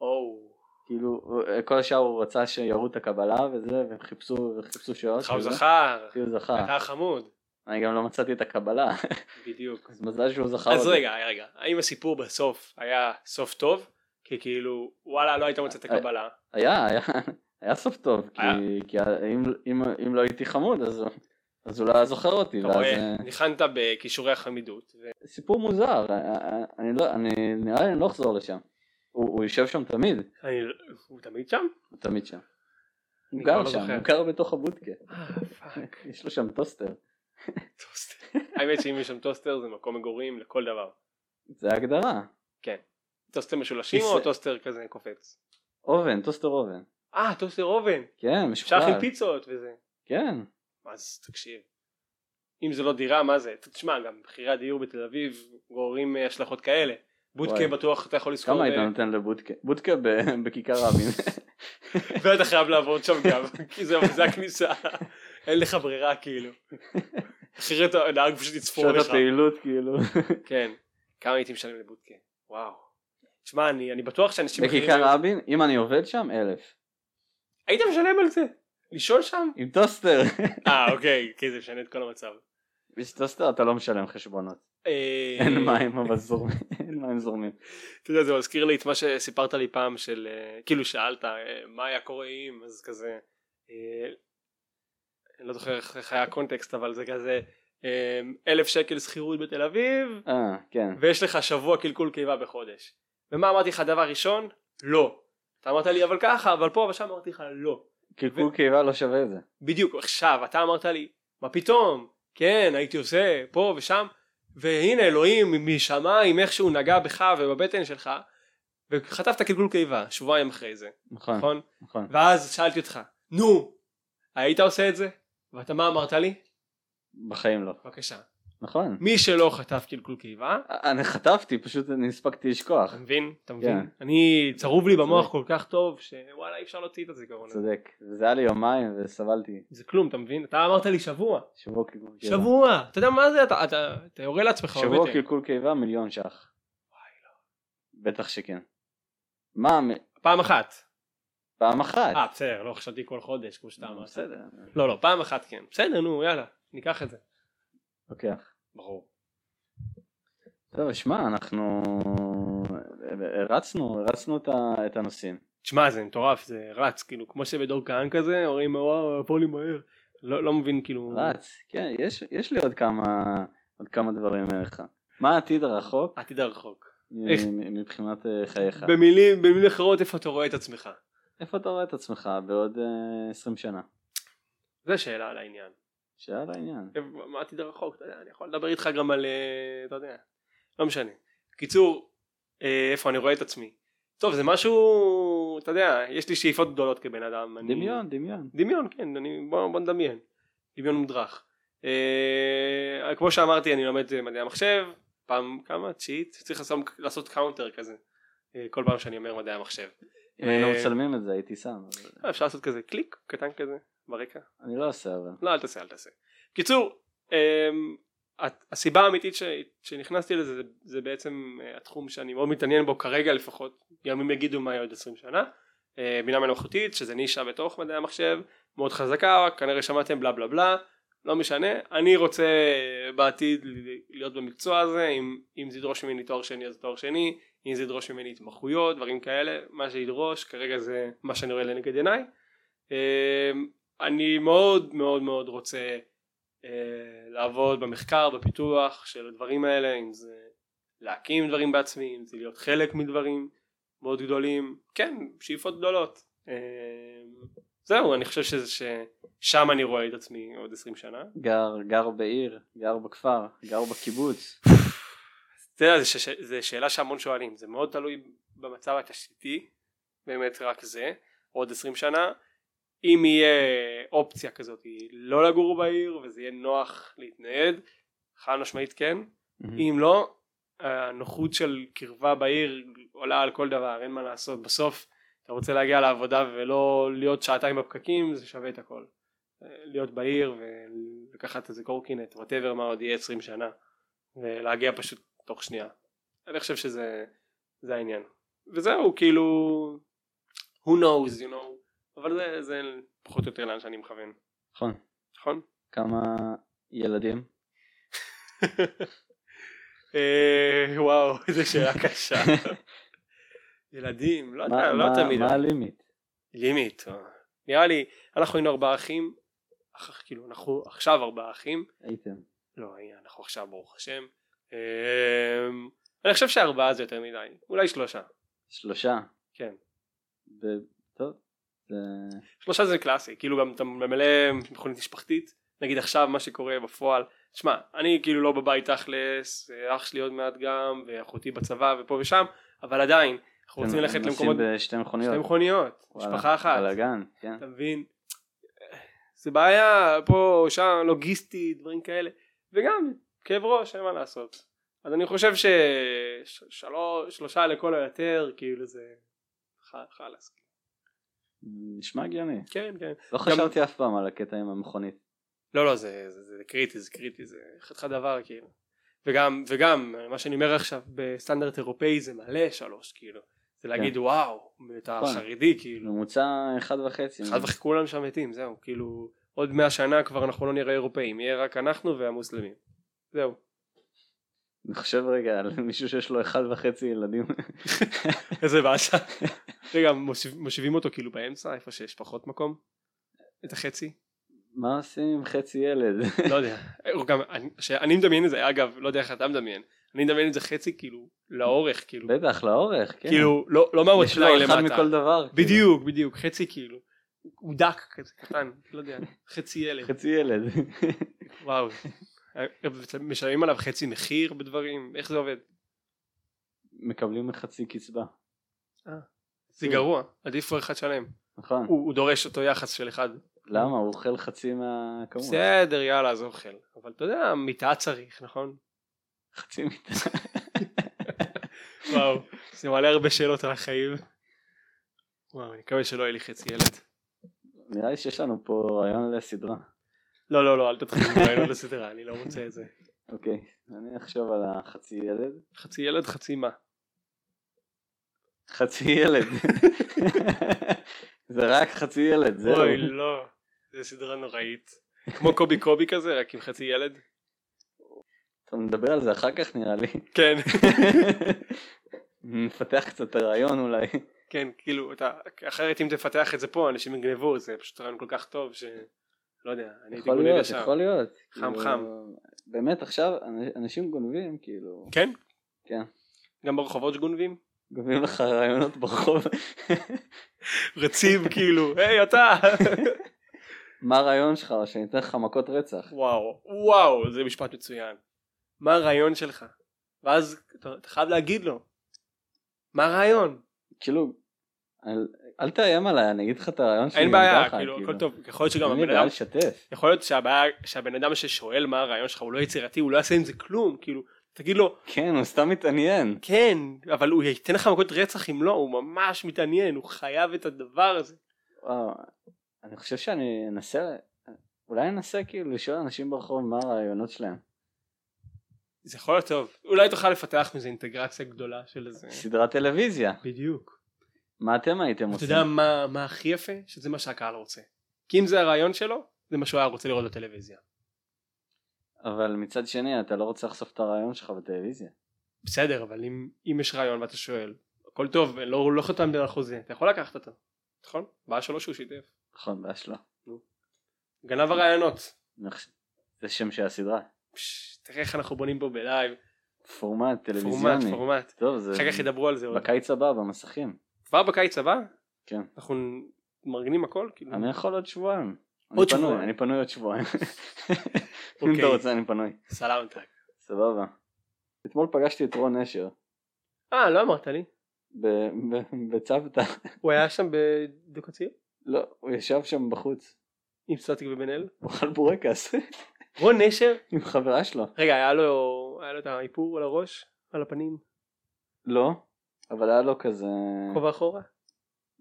B: או.
A: כאילו, הוא- כל השאר הוא רצה שיראו את הקבלה וזה, והם חיפשו, וחיפשו שעות.
B: לך הוא
A: וזה.
B: זכר.
A: כי הוא זכר. אה.
B: אתה חמוד.
A: אני גם לא מצאתי את הקבלה, [laughs]
B: בדיוק.
A: אז מזל שהוא זכר
B: אז
A: אותי.
B: רגע, רגע. האם הסיפור בסוף היה סוף טוב? כי כאילו, וואלה, לא היית מוצא את
A: אה,
B: הקבלה.
A: היה, היה, היה סוף טוב, כי,
B: היה.
A: כי אם, אם, אם לא הייתי חמוד, אז, הוא- אז הוא לא היה זוכר אותי.
B: אתה
A: ואז,
B: רואה,
A: אה,
B: ניחנת בכישורי החמידות. ו-
A: אה, סיפור מוזר, אני לא, אני, נראה לי אני לא אחזור לשם. הוא, הוא יושב שם תמיד,
B: אני... הוא תמיד שם?
A: הוא תמיד שם. הוא
B: אני כבר
A: גר
B: לא
A: שם,
B: זוכר.
A: הוא גר בתוך
B: [laughs]
A: הבודקה,
B: אה, פאק.
A: יש לו שם טוסטר.
B: [laughs] טוסטר. האמת שאם יש שם טוסטר זה מקום מגורים לכל דבר.
A: זה ההגדרה.
B: טוסטר משולשים או
A: ישראל-
B: טוסטר כזה קופץ?
A: אובן, טוסטר אובן.
B: אה, טוסטר אובן.
A: כן,
B: אפשר
A: משוכלל.
B: להכין פיצות וזה.
A: כן.
B: אז תקשיב. אם זה לא דירה, מה זה? תשמע, גם מחירי הדיור בתל אביב גוררים אה, השלכות כאלה. בודקה
A: וואי.
B: בטוח אתה יכול אה, לזכור,
A: כמה היית
B: ב-
A: נותן לבודקה? בודקה ב- [laughs] בכיכר רבין.
B: [laughs] ואתה חייב לעבוד שם גם, [laughs] כי זה זה הכניסה. אין לך ברירה [laughs] כאילו. אחרת הנהג פשוט יצפור
A: שעות
B: לך.
A: הפעילות
B: [laughs]
A: כאילו.
B: כן. כמה הייתי משלם לבודקה? וואו. תשמע, אני אני בטוח שאנשים
A: בכיכר רבין, אם אני עובד שם, אלף.
B: היית משלם על זה? לשאול שם?
A: עם טוסטר. [laughs]
B: אה, אוקיי, כי זה משנה את כל המצב.
A: יש טוסטר, אתה לא משלם חשבונות.
B: אה,
A: אין מים אבל זורמים. [laughs] אין מים זורמים.
B: אתה יודע, זה מזכיר לי את מה שסיפרת לי פעם של, אה, כאילו שאלת, אה, מה היה קורה אם, אז כזה, אה, אני לא זוכר איך איך היה הקונטקסט, אבל זה כזה, אה, אלף שקל שכירות בתל אביב,
A: אה, כן.
B: ויש לך שבוע קלקול קיבה בחודש. ומה אמרתי לך דבר ראשון? לא. אתה אמרת לי אבל ככה, אבל פה ושם אמרתי לך לא.
A: קרקור קיבה לא שווה את זה.
B: בדיוק עכשיו אתה אמרת לי מה פתאום כן הייתי עושה פה ושם והנה אלוהים משמיים איכשהו נגע בך ובבטן שלך וחטפת קלקול קיבה שבועיים אחרי זה
A: נכון,
B: נכון
A: נכון.
B: ואז שאלתי אותך נו היית עושה את זה ואתה מה אמרת לי
A: בחיים לא.
B: בבקשה
A: נכון.
B: מי שלא חטף קלקול קיבה
A: אני חטפתי, פשוט אני הספקתי לשכוח.
B: אתה מבין אתה מבין
A: כן.
B: אני צרוב לי במוח כל כך טוב שוואלה אי אפשר להוציא את הזיכרון הזה
A: צודק. זה היה לי יומיים וסבלתי.
B: זה כלום אתה מבין אתה אמרת לי שבוע
A: שבוע קלקול קיבה.
B: שבוע אתה יודע מה זה אתה- אתה אתה יורה לעצמך
A: כן. שבוע כאילו.
B: בבטן.
A: קלקול קיבה מיליון ש"ח. בטח שכן. מה, מ-
B: פעם אחת
A: פעם אחת.
B: אה בסדר לא חשבתי כל חודש כמו שאתה אמרת.
A: בסדר.
B: לא לא פעם אחת כן. בסדר נו יאללה ניקח את זה.
A: לוקח.
B: ברור.
A: אוקיי. טוב, שמע, אנחנו הרצנו, הרצנו את ה- את הנושאים.
B: תשמע זה מטורף זה רץ כאילו כמו שבדור כהן כזה אומרים וואו הפועל לי מהר. לא לא מבין כאילו.
A: רץ. כן, יש- יש לי עוד כמה עוד כמה דברים אליך. מה העתיד הרחוק
B: עתיד הרחוק.
A: מ-
B: איך?
A: מ- מבחינת אה, חייך?
B: במילים במילים אחרות איפה אתה רואה את עצמך.
A: איפה אתה רואה את עצמך בעוד אה, 20 שנה?
B: זה שאלה על העניין.
A: שאלה לעניין.
B: איפה- מה העתיד הרחוק אתה יודע אני יכול לדבר איתך גם על אה, אתה יודע. לא משנה. קיצור אה, איפה אני רואה את עצמי. טוב זה משהו אתה יודע יש לי שאיפות גדולות כבן אדם. אני-
A: דמיון, דמיון.
B: דמיון כן אני, בוא, בוא נדמיין דמיון מודרך אה, כמו שאמרתי אני לומד אה, מדעי המחשב פעם כמה תשיעית צריך לעשות, לעשות קאונטר כזה אה, כל פעם שאני אומר מדעי המחשב
A: אם היינו
B: אה,
A: מצלמים את זה הייתי שם. אבל
B: אה, אפשר לעשות כזה קליק קטן כזה ברקע
A: אני לא עושה אבל.
B: לא אל תעשה אל תעשה קיצור אה, הת- הסיבה האמיתית ש, שנכנסתי לזה זה, זה בעצם אה, התחום שאני מאוד מתעניין בו כרגע לפחות ימים יגידו מה יהיה עוד 20 שנה אה, בינה מלאכותית שזה נישה בתוך מדעי המחשב מאוד חזקה כנראה שמעתם בלה בלה בלה לא משנה אני רוצה אה, בעתיד ל- להיות במקצוע הזה אם, אם זה ידרוש ממני תואר שני אז תואר שני אם זה ידרוש ממני התמחויות דברים כאלה מה שידרוש כרגע זה מה שאני רואה לנגד עיניי אה, אני מאוד מאוד מאוד רוצה אה, לעבוד במחקר בפיתוח של הדברים האלה אם זה להקים דברים בעצמי אם זה להיות חלק מדברים מאוד גדולים כן שאיפות גדולות אה, זהו אני חושב שזה ששם אני רואה את עצמי עוד 20 שנה
A: גר, גר בעיר, גר בכפר, גר בקיבוץ.
B: אתה יודע, זה, ש... זה שאלה שהמון שואלים, זה מאוד תלוי במצב התשתיתי, באמת רק זה, עוד 20 שנה, אם יהיה אופציה כזאת היא לא לגור בעיר וזה יהיה נוח להתנייד, חד משמעית כן,
A: Mhm.
B: אם לא, הנוחות של קרבה בעיר עולה על כל דבר, אין מה לעשות, בסוף אתה רוצה להגיע לעבודה ולא להיות שעתיים בפקקים, זה שווה את הכל. אה, להיות בעיר ולקחת איזה קורקינט, וואטאבר מה עוד יהיה 20 שנה, ולהגיע פשוט תוך שנייה. אני חושב שזה זה העניין. וזהו, כאילו, who knows, you know, אבל זה, זה פחות או יותר לאן שאני מכוון,
A: נכון.
B: נכון?
A: כמה ילדים?
B: אה, וואו, [laughs] איזה שאלה קשה. ילדים, לא יודע,
A: מה-
B: לא
A: מה-
B: תמיד.
A: מה הלימיט?
B: לימיט. אה. נראה לי, אנחנו היינו ארבעה אחים, אח- כאילו אנחנו עכשיו ארבעה אחים,
A: הייתם.
B: לא, הנה, אנחנו אמ, עכשיו ברוך השם. אה, אני חושב שארבעה זה יותר מדי, אולי שלושה.
A: שלושה.
B: כן.
A: ב- טוב, זה...
B: שלושה זה קלאסי, כאילו גם אתה ממלא מכונית משפחתית, נגיד עכשיו מה שקורה בפועל, שמע, אני כאילו לא בבית תכלס, אה, אח שלי עוד מעט גם, ואחותי בצבא ופה ושם, אבל עדיין, אנחנו רוצים
A: כן,
B: ללכת
A: נוסעים
B: למקומות,
A: בשתי מכוניות.
B: שתי מכוניות,
A: וואלה,
B: משפחה אחת,
A: בלאגן, כן.
B: אתה מבין? זה בעיה, פה, שם, לוגיסטי, דברים כאלה, וגם כאב ראש, אין מה לעשות. אז אני חושב ששלושה לכל היותר, כאילו זה ח- חלאס.
A: נשמע הגיוני.
B: כן, כן.
A: לא חשבתי אף פעם על הקטע עם המכונית.
B: לא לא זה, זה, זה קריטי זה קריטי זה חתיכת דבר כאילו וגם וגם מה שאני אומר עכשיו בסטנדרט אירופאי זה מלא שלוש כאילו זה להגיד
A: כן.
B: וואו אתה
A: נכון.
B: חרדי כאילו
A: ממוצע אחד וחצי.
B: אחד וחצי כולם שם מתים זהו כאילו עוד מאה שנה כבר אנחנו לא נראה אירופאים יהיה רק אנחנו והמוסלמים
A: [laughs]
B: זהו
A: אני חושב רגע על מישהו שיש לו אחד וחצי ילדים.
B: איזה באסה רגע מושיב, מושיבים אותו כאילו באמצע איפה שיש פחות מקום את החצי
A: מה עושים עם חצי ילד? [laughs]
B: לא יודע הוא גם אני, שאני מדמיין את זה אגב לא יודע איך אתה מדמיין אני מדמיין את זה חצי כאילו לאורך כאילו
A: בטח, לאורך, כן.
B: כאילו לא, לא מהמותניים
A: יש לו
B: למטה.
A: אחד מכל דבר. כאילו.
B: בדיוק, בדיוק, חצי כאילו. הוא דק כזה קטן, לא יודע, חצי ילד.
A: חצי ילד. [laughs]
B: וואו. אה, משלמים עליו חצי מחיר בדברים, איך זה עובד?
A: מקבלים חצי קצבה.
B: זה גרוע, עדיף כבר אחד שלם.
A: נכון.
B: הוא הוא דורש אותו יחס של אחד.
A: למה? הוא אוכל חצי מהכמות.
B: בסדר, יאללה, אז אוכל. אבל אתה יודע, מיטה צריך, נכון?
A: חצי מיטה. [laughs]
B: וואו, זה מעלה הרבה שאלות על החיים. וואו, אני מקווה שלא יהיה לי חצי ילד.
A: נראה לי שיש לנו פה רעיון לסדרה.
B: לא, לא, לא, אל תתחיל לרעיון לסדרה, אני לא רוצה את זה.
A: אוקיי, אני אחשוב על החצי ילד.
B: חצי ילד, חצי מה?
A: חצי ילד. [laughs] זה רק חצי ילד, זהו.
B: אוי לא, זה סדרה נוראית. כמו קובי קובי כזה, רק עם חצי ילד.
A: אתה מדבר על זה אחר כך נראה לי. [laughs]
B: כן,
A: נפתח קצת את הרעיון אולי.
B: כן, כאילו, אתה, אחרת אם תפתח את זה פה, אנשים יגנבו, זה פשוט רעיון כל כך טוב, ש... לא יודע, אני הייתי
A: יכול
B: גונן
A: להיות,
B: לשם.
A: יכול להיות.
B: חם,
A: כאילו,
B: חם.
A: באמת עכשיו אנ- אנשים גונבים, כאילו,
B: כן?
A: כן.
B: גם ברחובות גונבים?
A: גונבים לך רעיונות ברחוב. [laughs]
B: רצים כאילו, היי אתה! [laughs]
A: מה הרעיון שלך? שאני אתן לך מכות רצח.
B: וואו, וואו, זה משפט מצוין. מה הרעיון שלך? ואז אתה, אתה חייב להגיד לו, מה הרעיון?
A: כאילו, אל- אל תאיים עליי, אני אגיד לך את הרעיון שלי.
B: אין
A: גם
B: בעיה,
A: ככה,
B: כאילו, הכל טוב, יכול להיות שגם
A: אין לי
B: הבן
A: בעיה
B: אדם
A: לשתף.
B: יכול להיות שהבעיה, שהבן אדם ששואל מה הרעיון שלך הוא לא יצירתי הוא לא יעשה עם זה כלום כאילו תגיד לו
A: כן, הוא סתם מתעניין.
B: כן אבל הוא ייתן לך מכות רצח אם לא הוא ממש מתעניין הוא חייב את הדבר הזה
A: וואו, אני חושב שאני אנסה, אולי אנסה כאילו לשאול אנשים ברחוב מה הרעיונות שלהם.
B: זה יכול להיות טוב אולי תוכל לפתח מזה אינטגרציה גדולה של איזה
A: סדרת טלוויזיה,
B: בדיוק
A: מה אתם הייתם
B: אתה
A: עושים?
B: יודע מה, מה הכי יפה שזה מה שהקהל רוצה כי אם זה הרעיון שלו זה מה שהוא היה רוצה לראות בטלוויזיה
A: אבל מצד שני אתה לא רוצה לחשוף את הרעיון שלך בטלוויזיה.
B: בסדר אבל אם, אם יש רעיון ואתה שואל הכל טוב לא, לא חתמת על חוזה אתה יכול לקחת אותו נכון? בעיה שלו שהוא שיתף
A: נכון, בעיה שלא.
B: גנב הרעיונות
A: אני חושב- זה שם של הסדרה.
B: פש, תראה איך אנחנו בונים פה בלייב,
A: פורמט
B: פורמט,
A: טלוויזיוני.
B: פורמט,
A: טוב, זה
B: אחר כך ידברו על זה עוד.
A: בקיץ הבא במסכים.
B: כבר בקיץ הבא?
A: כן.
B: אנחנו מארגנים הכל? כאילו?
A: אני יכול עוד שבועיים. אני
B: עוד
A: פנוי,
B: שבועיים.
A: אני פנוי עוד
B: [laughs]
A: שבועיים. אם
B: אוקיי.
A: אתה רוצה אני פנוי.
B: סלאמטק.
A: סבבה. אתמול פגשתי את רון נשר.
B: אה, לא אמרת לי.
A: ב- ב- בצוותא.
B: הוא היה שם בדוקציר?
A: לא, הוא ישב שם בחוץ,
B: עם סטטיק ובן אל?
A: הוא אכל בורקס [laughs]
B: רון נשר?
A: עם חברה שלו.
B: רגע, היה לו היה לו את האיפור על הראש? על הפנים?
A: לא, אבל היה לו כזה,
B: כובע אחורה?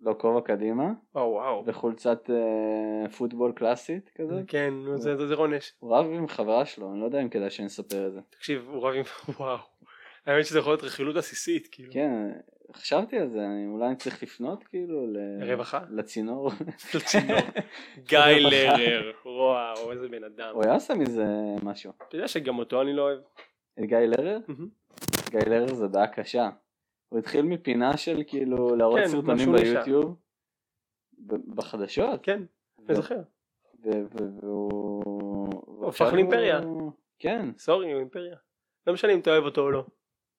A: לא כובע קדימה,
B: וואו וואו.
A: וחולצת אה, פוטבול קלאסית כזה.
B: כן, נו, זה זה- זה רון נשר.
A: הוא רב עם חברה שלו, אני לא יודע אם כדאי שאני אספר את זה.
B: תקשיב, הוא רב עם... [laughs] וואו. האמת שזה יכול להיות רכילות עסיסית, כאילו.
A: כן, חשבתי על זה, אני אולי אני צריך לפנות כאילו ל- [laughs]
B: רווחה?
A: לצינור. [laughs]
B: לצינור. גיא לרר. וואו, איזה בן אדם.
A: הוא היה עושה מזה משהו.
B: אתה יודע שגם אותו אני לא אוהב.
A: אה, את גיא לרר? גיא לרר זה בעיה קשה. הוא התחיל מפינה של כאילו להראות
B: כן,
A: סרטונים
B: משהו נשאר.
A: ביוטיוב. ב- בחדשות.
B: כן, אני
A: לא.
B: זוכר.
A: ו- ו- והוא...
B: הפך לאימפריה.
A: כן, [laughs]
B: סורי הוא אימפריה. לא משנה אם אתה אוהב אותו או לא.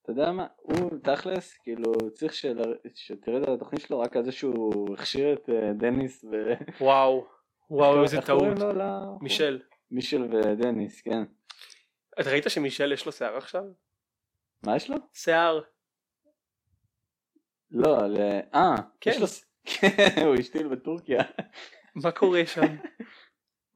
A: אתה יודע מה, הוא תכלס, כאילו, צריך של... שתרד על התוכנית שלו רק על זה שהוא הכשיר את אה, דניס ו...
B: וואו, וואו
A: [laughs]
B: איזה
A: איך
B: טעות.
A: קוראים לו ל-
B: מישל,
A: מישל ודניס, כן.
B: את ראית שמישל יש לו שיער עכשיו?
A: מה יש לו?
B: שיער.
A: לא, ל... אה,
B: כן.
A: יש לו... ס- [laughs] כן, הוא השתיל בטורקיה.
B: מה קורה שם?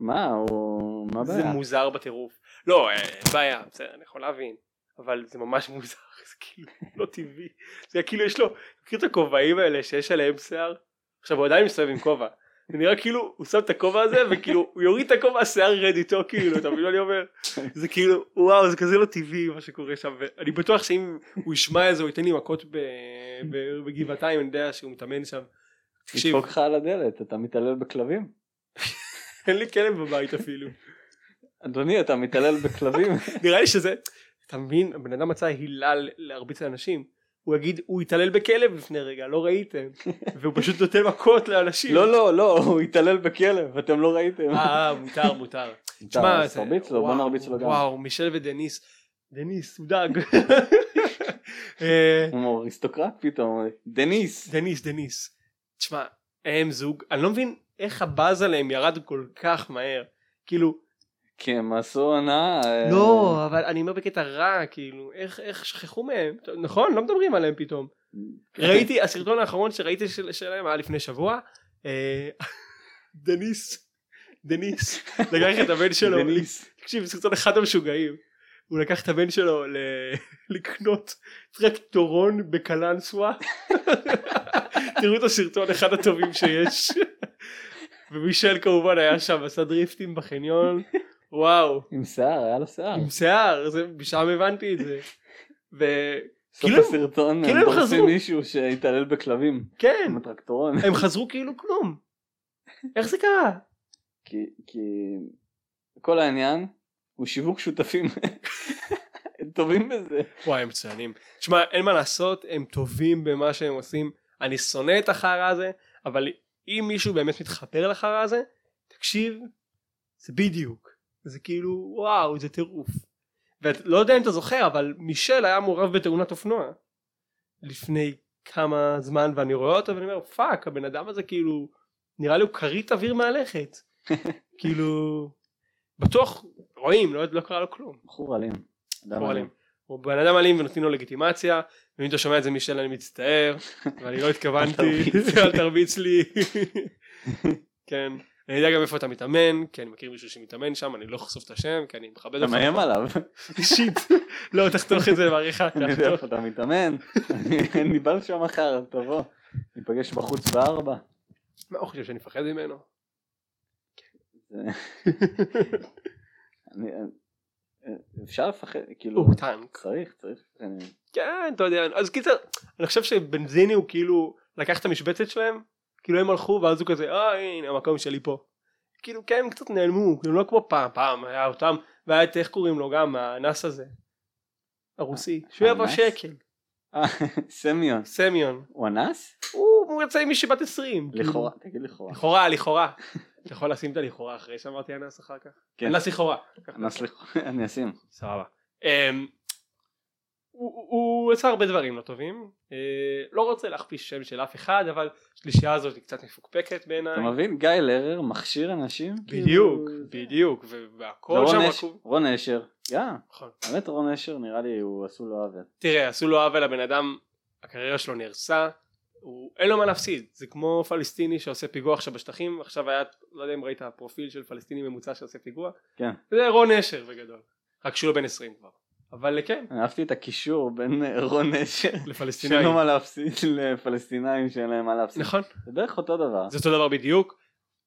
A: מה, הוא... [laughs] מה
B: זה
A: הבעיה?
B: מוזר בטירוף. לא, אה, אין בעיה, בסדר, אני יכול להבין. אבל זה ממש מוזר, [laughs] זה כאילו לא טבעי. זה כאילו יש לו, מכיר את הכובעים האלה שיש עליהם שיער? עכשיו הוא עדיין מסתובב עם כובע. זה נראה כאילו הוא שם את הכובע הזה וכאילו הוא יוריד את הכובע השיער ירד איתו כאילו אתה מבין מה אני אומר? זה כאילו וואו זה כזה לא טבעי מה שקורה שם ואני בטוח שאם הוא ישמע את זה הוא ייתן לי מכות ב- ב- בגבעתיים אני יודע שהוא מתאמן שם. תקשיב
A: נדפוק לך על הדלת, אתה מתעלל בכלבים?
B: אין לי כלב בבית אפילו.
A: אדוני, אתה
B: [laughs]
A: מתעלל בכלבים?
B: נראה לי שזה, אתה מבין, הבן אדם מצא הילה ל- להרביץ לאנשים. הוא יגיד, הוא התעלל בכלב לפני רגע,
A: [laughs]
B: לא ראיתם. והוא פשוט נותן מכות לאנשים.
A: לא, לא, לא, הוא התעלל בכלב, אתם לא ראיתם. [laughs]
B: אה, אה, מותר, מותר.
A: תשמע,
B: זה-
A: תרביץ לו, בוא
B: וואו,
A: נרביץ לו גם.
B: וואו, מישל ודניס. דניס, הוא
A: [laughs]
B: דג. אה,
A: הוא אריסטוקרט פתאום, דניס.
B: דניס, דניס. תשמע, הם זוג, אני לא מבין איך הבאז עליהם ירד כל כך מהר. כאילו,
A: כי הם כן, עשו עונה... אה, [laughs]
B: לא, אבל אני אומר בקטע רע, כאילו, איך, איך שכחו מהם, טוב, נכון? לא מדברים עליהם פתאום.
A: כן.
B: ראיתי, הסרטון האחרון שראיתי של, שלהם היה לפני שבוע, אה, [laughs] דניס, דניס, לקח את הבן שלו,
A: דניס.
B: תקשיב, סרטון אחד המשוגעים, הוא לקח את הבן שלו ל... [laughs] לקנות טרקטורון בקלנסווה, [laughs] תראו את הסרטון, אחד הטובים שיש, [laughs] ומישל כמובן היה שם, עשה דריפטים בחניון, וואו.
A: עם שיער, היה לו שיער. [laughs]
B: עם שיער, זה, משם הבנתי את זה. וכן,
A: סוף
B: כאילו-
A: הסרטון הם
B: כאילו הם
A: דורסים
B: חזרו. כן.
A: מישהו שהתעלל בכלבים. עם הטרקטורון.
B: הם חזרו כאילו כלום. איך זה קרה?
A: כי, כי כל העניין הוא שיווק שותפים. הם טובים בזה.
B: וואי, הם מצוינים. תשמע, אין מה לעשות, הם טובים במה שהם עושים. אני שונא את החרא הזה, אבל אם מישהו באמת מתחבר לחרא הזה, תקשיב, זה בדיוק. זה כאילו, וואו, זה טירוף. ולא יודע אם אתה זוכר, אבל מישל היה מעורב בתאונת אופנוע. לפני כמה זמן, ואני רואה אותו ואני אומר, פאק, הבן אדם הזה כאילו, נראה לי הוא כרית אוויר מהלכת. כאילו, בטוח, רואים, לא, לא קרה לו כלום.
A: בחור אלים. אדם
B: בחור אלים. הוא בן אדם אלים ונותנים לו לגיטימציה, ואם אתה שומע את זה מישל אני
A: [laughs]
B: מצטער, ואני לא
A: אל
B: התכוונתי,
A: תרביץ לי.
B: [laughs] אל תרביץ לי. כן, אני יודע גם איפה אתה מתאמן, כי אני מכיר מישהו שמתאמן שם, אני לא אחשוף את השם, כי אני מכבד
A: אתה
B: אותך.
A: מאיים עליו.
B: [laughs] שיט. לא, תחתוך את זה בעריכה.
A: [laughs] אני יודע
B: תחתוך.
A: איפה אתה מתאמן. אני בא לשם מחר, תבוא. ניפגש בחוץ בארבע.
B: מה הוא חושב שאני מפחד ממנו?
A: אני- אה, אפשר לפחד, כאילו,
B: [laughs] הוא טנק.
A: צריך, צריך. אני-
B: כן, אתה יודע, אז קיצר, אני חושב שבנזיני הוא כאילו לקח את המשבצת שלהם, כאילו הם הלכו ואז הוא כזה, אה הנה המקום שלי פה. כאילו כן, הם קצת נעלמו, כאילו לא כמו פעם, פעם היה אותם, והיה את איך קוראים לו גם, האנס הזה, הרוסי, שהוא היה
A: האנס?
B: שקל,
A: אה, סמיון.
B: סמיון,
A: הוא אנס?
B: הוא הוא יצא עם מישהי בת 20. כאילו.
A: לכאורה, תגיד לכאורה.
B: לכאורה, לכאורה. אתה יכול לשים את הלכאורה אחרי שאמרתי אנס אחר כך?
A: כן.
B: אנס לכאורה. אה.
A: אנס לכאורה, [laughs] אני אשים.
B: סבבה. אמ, הוא- הוא הוא עשה הרבה דברים לא טובים, אה, לא רוצה להכפיש שם של אף אחד, אבל השלישייה הזאת היא קצת מפוקפקת בעיניי.
A: אתה מבין? גיא לרר מכשיר אנשים? כאילו,
B: בדיוק,
A: זה-
B: בדיוק, ו- והכל
A: ורון
B: שם
A: אש-
B: רקוב.
A: רון אשר, יא.
B: נכון.
A: האמת רון אשר נראה לי הוא עשו לו עוול.
B: תראה, עשו לו עוול לבן אדם, הקריירה שלו נהרסה, הוא- אין לו מה להפסיד, זה כמו פלסטיני שעושה פיגוע עכשיו בשטחים, עכשיו היה, לא יודע אם ראית פרופיל של פלסטיני ממוצע שעושה פיגוע,
A: כן.
B: זה רון אשר בגדול, רק שהוא לא בן 20 כבר, אבל כן,
A: אני אהבתי את הקישור בין אה, רון אשר שאין
B: לפלסטינאים,
A: לו מה להפסיד לפלסטינאים שאין להם מה להפסיד.
B: נכון?
A: זה בערך אותו דבר.
B: זה אותו דבר בדיוק.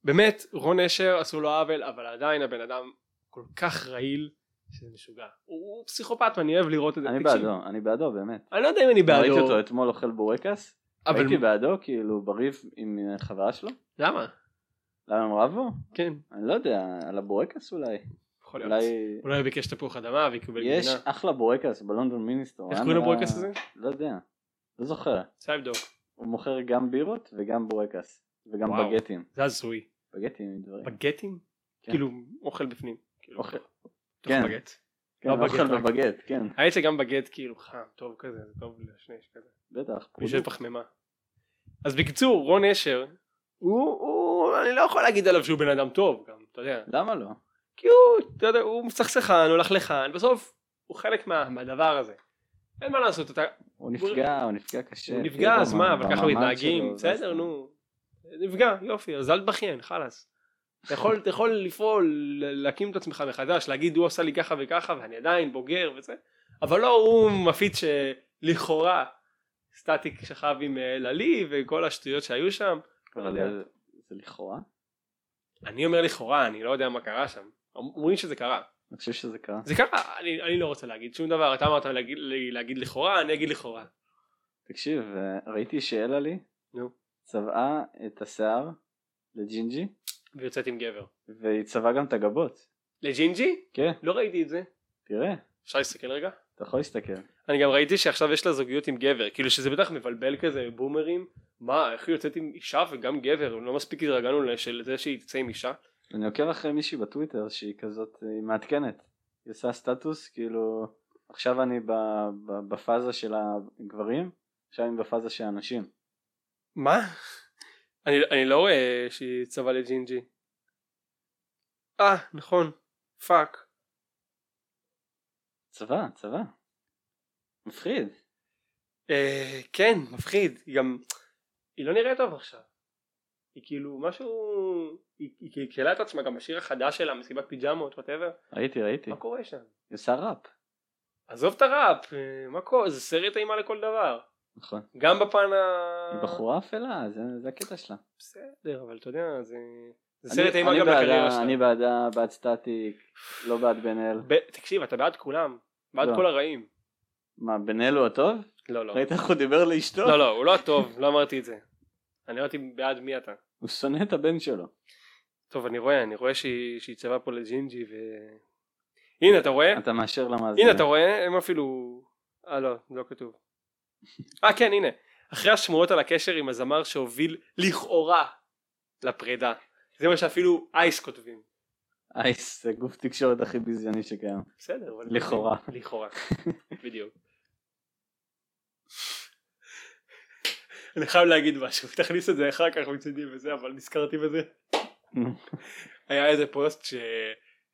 B: באמת, רון אשר עשו לו עוול, אבל עדיין הבן אדם כל כך רעיל, שזה משוגע. הוא הוא פסיכופת ואני אוהב לראות את זה.
A: אני
B: תקשיב,
A: בעדו, אני בעדו באמת.
B: אני לא יודע אם אני
A: ראיתי
B: בעדו.
A: אותו אתמול אוכל בורקס,
B: אבל
A: הייתי בעדו כאילו בריב עם אה, חברה שלו.
B: למה?
A: למה הם רבו?
B: כן,
A: אני לא יודע, על הבורקס אולי.
B: יכול להיות.
A: אולי
B: אולי הוא ביקש תפוח אדמה וקיבל
A: יש
B: גבינה.
A: אחלה בורקס בלונדון מיניסטור.
B: איך
A: היה
B: קוראים
A: נראה-
B: לבורקס הזה?
A: לא יודע, לא זוכר.
B: צריך לבדוק.
A: הוא מוכר גם בירות וגם בורקס וגם
B: וואו.
A: בגטים.
B: זה הזוי.
A: בגטים עם דברים.
B: בגטים?
A: כן.
B: כאילו, אוכל בפנים. כאילו,
A: אוכל.
B: בתוך
A: כן.
B: בגט.
A: כן,
B: לא,
A: אוכל
B: בגט, רק.
A: בבגט, כן,
B: היה אצלי גם בגט כאילו חם, טוב כזה, זה טוב לשניש כזה.
A: בטח.
B: בשביל פחמימה. אז בקיצור, רון אשר, הוא, הוא, אני לא יכול להגיד עליו שהוא בן אדם טוב גם, אתה יודע.
A: למה לא?
B: כי הוא, אתה יודע, הוא מסכסכן, הוא לכלכן, בסוף הוא חלק מה, מהדבר הזה. אין מה לעשות, אתה,
A: הוא נפגע, הוא נפגע קשה.
B: הוא נפגע, אז
A: במעמד
B: מה, אבל ככה
A: כן, שלו,
B: מתנהגים,
A: זה
B: בסדר,
A: הסתם.
B: נו. נפגע, יופי, אז אל תבכיין, חלאס. אתה יכול, אתה יכול לפעול, להקים את עצמך מחדש, להגיד הוא עשה לי ככה וככה ואני עדיין בוגר וזה, אבל לא הוא מפיץ שלכאורה סטטיק שכב עם אה, ללי וכל השטויות שהיו שם. לא
A: אבל זה- זה לכאורה?
B: אני אומר לכאורה, אני לא יודע מה קרה שם. אומרים שזה קרה.
A: אני חושב שזה קרה.
B: זה קרה, אני, אני לא רוצה להגיד שום דבר, אתה אמרת להגיד, להגיד לכאורה, אני אגיד לכאורה.
A: תקשיב, אה, ראיתי שאלה לי,
B: נו.
A: צבעה את השיער לג'ינג'י,
B: ויוצאת עם גבר.
A: והיא צבעה גם את הגבות.
B: לג'ינג'י?
A: כן,
B: לא ראיתי את זה.
A: תראה,
B: אפשר להסתכל רגע?
A: אתה יכול להסתכל.
B: אני גם ראיתי שעכשיו יש לה זוגיות עם גבר, כאילו שזה בטח מבלבל כזה, בומרים, מה, איך היא יוצאת עם אישה וגם גבר, לא מספיק התרגלנו לזה שהיא תצא עם אישה.
A: אני עוקב אחרי מישהי בטוויטר שהיא כזאת, אה, היא מעדכנת. היא עושה סטטוס, כאילו, עכשיו אני ב- ב- בפאזה של הגברים, עכשיו אני בפאזה של הנשים.
B: מה? אני, אני לא רואה שהיא צבא לג'ינג'י. אה, נכון, פאק.
A: צבא, צבא. מפחיד.
B: אה, כן, מפחיד, היא גם, היא לא נראית טוב עכשיו. היא כאילו משהו, היא היא קלקלה את עצמה גם בשיר החדש שלה, מסיבת פיג'מות, וואטאבר,
A: ראיתי, ראיתי.
B: מה
A: היא
B: קורה שם?
A: עושה ראפ.
B: עזוב את הראפ, אה, מה קורה, זה סרט אימה לכל דבר.
A: נכון.
B: גם בפן ה...
A: היא בחורה אפלה, זה- זה הקטע שלה.
B: בסדר, אבל אתה יודע, זה... זה
A: אני-
B: סרט אימה
A: אני
B: גם
A: בעדה-
B: לקריירה שלה.
A: אני בעדה, בעד סטטיק, לא בעד בן אל.
B: ב- תקשיב, אתה בעד כולם. בעד
A: לא.
B: כל הרעים.
A: מה, בן אל הוא הטוב?
B: לא, לא.
A: ראית איך הוא דיבר לאשתו?
B: לא, לא, הוא לא הטוב, לא אמרתי את זה. אני אמרתי בעד מי אתה.
A: הוא שונא את הבן שלו.
B: טוב, אני רואה, אני רואה שהיא שהיא צבעה פה לג'ינג'י ו... הנה, אתה
A: [laughs]
B: רואה?
A: אתה מאשר למאזינים.
B: כן. הנה, אתה רואה? הם אפילו... אה, לא, לא כתוב. אה, כן, הנה. אחרי השמועות על הקשר עם הזמר שהוביל לכאורה לפרידה. זה מה שאפילו אייס כותבים.
A: אייס, זה גוף תקשורת הכי ביזיוני שקיים.
B: בסדר, אבל...
A: לכאורה.
B: לכאורה, בדיוק. אני חייב להגיד משהו, תכניס את זה אחר כך מצידי וזה, אבל נזכרתי בזה.
A: נו.
B: היה איזה פוסט ש...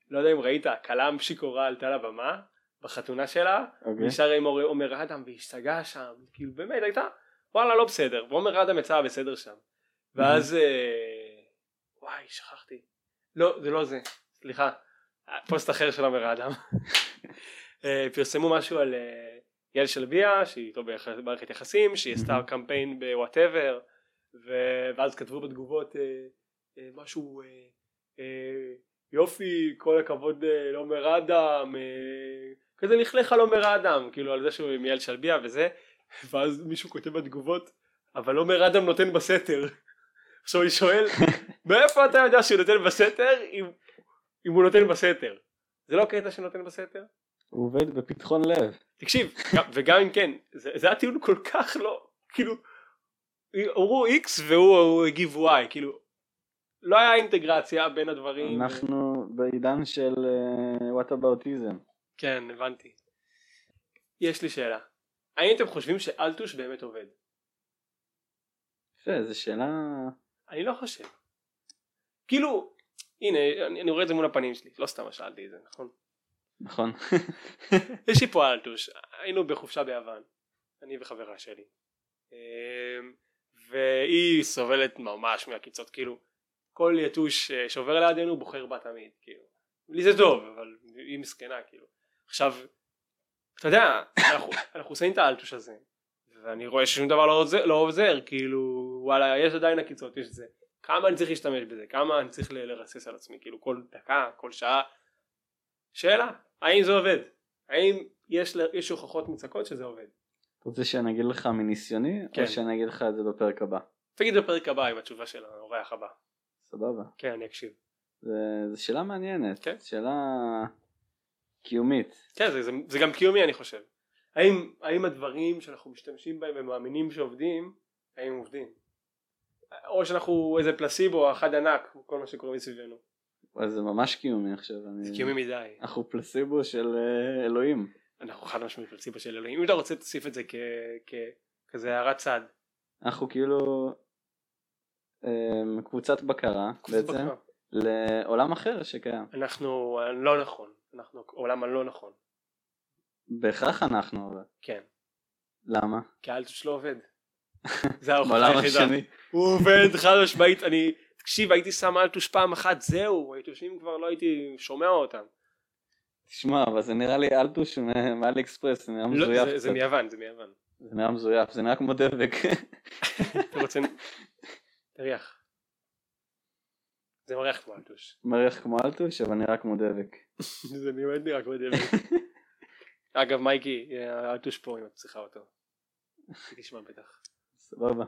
B: לא יודע אם ראית, כלם שיכורה עלתה לבמה בחתונה שלה,
A: אוקיי.
B: ונשאר עם עומר- עומר אדם והשתגע שם, כאילו באמת הייתה, וואלה לא בסדר, ועומר אדם יצא בסדר שם. ואז אה, וואי שכחתי לא זה לא זה סליחה פוסט אחר של עומר האדם אה, פרסמו משהו על אה, יעל שלביה שהיא איתו ביח- במערכת יחסים שהיא עשתה
A: מהמם.
B: קמפיין בוואטאבר ואז כתבו בתגובות אה, אה, משהו אה, אה, יופי כל הכבוד אה, לעומר אדם אה, כזה לכלך על עומר אדם כאילו על זה שהוא עם יעל שלביה וזה ואז מישהו כותב בתגובות אבל עומר אדם נותן בסתר עכשיו אני שואל, מאיפה אתה יודע שהוא נותן בסתר אם, אם הוא נותן בסתר? זה לא קטע שנותן בסתר?
A: הוא עובד בפתחון לב.
B: תקשיב, גם- וגם אם כן, זה, זה היה טיעון כל כך לא, כאילו, אמרו X והוא הוא הגיב Y, כאילו, לא היה אינטגרציה בין הדברים.
A: אנחנו בעידן של אה, what aboutism.
B: כן, הבנתי. יש לי שאלה, האם אתם חושבים שאלטוש באמת עובד?
A: יפה, זו שאלה...
B: אני לא חושב. כאילו, הנה, אני, אני רואה את זה מול הפנים שלי, לא סתם שאלתי את זה, נכון?
A: נכון. [laughs]
B: [laughs] יש לי פה אלטוש, היינו בחופשה ביוון, אני וחברה שלי. אמ, והיא סובלת ממש מהקיצות, כאילו, כל יתוש אה, שעובר לידינו בוחר בה תמיד, כאילו. לי זה טוב, אבל היא מסכנה, כאילו. עכשיו, אתה יודע, אנחנו, אנחנו עושים את האלטוש הזה, ואני רואה ששום דבר לא עוזר, לא עוזר, כאילו, וואלה, יש עדיין עקיצות, יש זה. כמה אני צריך להשתמש בזה? כמה אני צריך ל- לרסס על עצמי? כאילו, כל דקה, כל שעה? שאלה, האם זה עובד? האם יש, ל- יש הוכחות מוצקות שזה עובד?
A: אתה רוצה שאני אגיד לך מניסיוני,
B: כן.
A: או שאני אגיד לך את זה בפרק הבא?
B: תגיד בפרק הבא עם התשובה של האורח הבא.
A: סבבה.
B: כן, אני אקשיב.
A: זה- זו שאלה מעניינת.
B: כן.
A: שאלה קיומית.
B: כן, זה, זה, זה גם קיומי אני חושב. האם, האם הדברים שאנחנו משתמשים בהם ומאמינים שעובדים, האם הם עובדים? או שאנחנו איזה פלסיבו, אחד ענק, כל מה שקורה מסביבנו. Mm.
A: אז זה ממש קיומי עכשיו.
B: זה
A: אני-
B: קיומי מדי.
A: אנחנו פלסיבו של אה, אלוהים.
B: אנחנו חד משמעית פרינציפה של אלוהים. אם אתה רוצה תוסיף את זה כ... כ... כזה הערת צד.
A: אנחנו כאילו אה, קבוצת בקרה בעצם
B: בקרה.
A: לעולם אחר שקיים.
B: אנחנו אה, לא נכון. אנחנו העולם הלא נכון.
A: בהכרח אנחנו, אבל.
B: כן.
A: למה?
B: כי האלטוש לא [laughs] עובד. זה ההוכחה
A: בעולם
B: לא, היחידה.
A: השני.
B: הוא עובד חד משמעית. אני... תקשיב הייתי שם אלטוש פעם אחת זהו. האלטושים כבר לא הייתי שומע אותם.
A: תשמע, אבל זה נראה לי אלטוש מ- מאלי אקספרס, זה נראה
B: לא,
A: מזויף.
B: זה- זה
A: קצת.
B: מיוון. זה מיוון.
A: זה נראה מזויף, זה נראה כמו דבק. [laughs]
B: אתה רוצה... תריח. זה מריח כמו אלטוש.
A: מריח כמו אלטוש, אבל נראה כמו דבק. [laughs]
B: זה באמת נראה כמו דבק. אגב מייקי, אל תוש פה אם את צריכה אותו. היא תשמע בטח.
A: סבבה.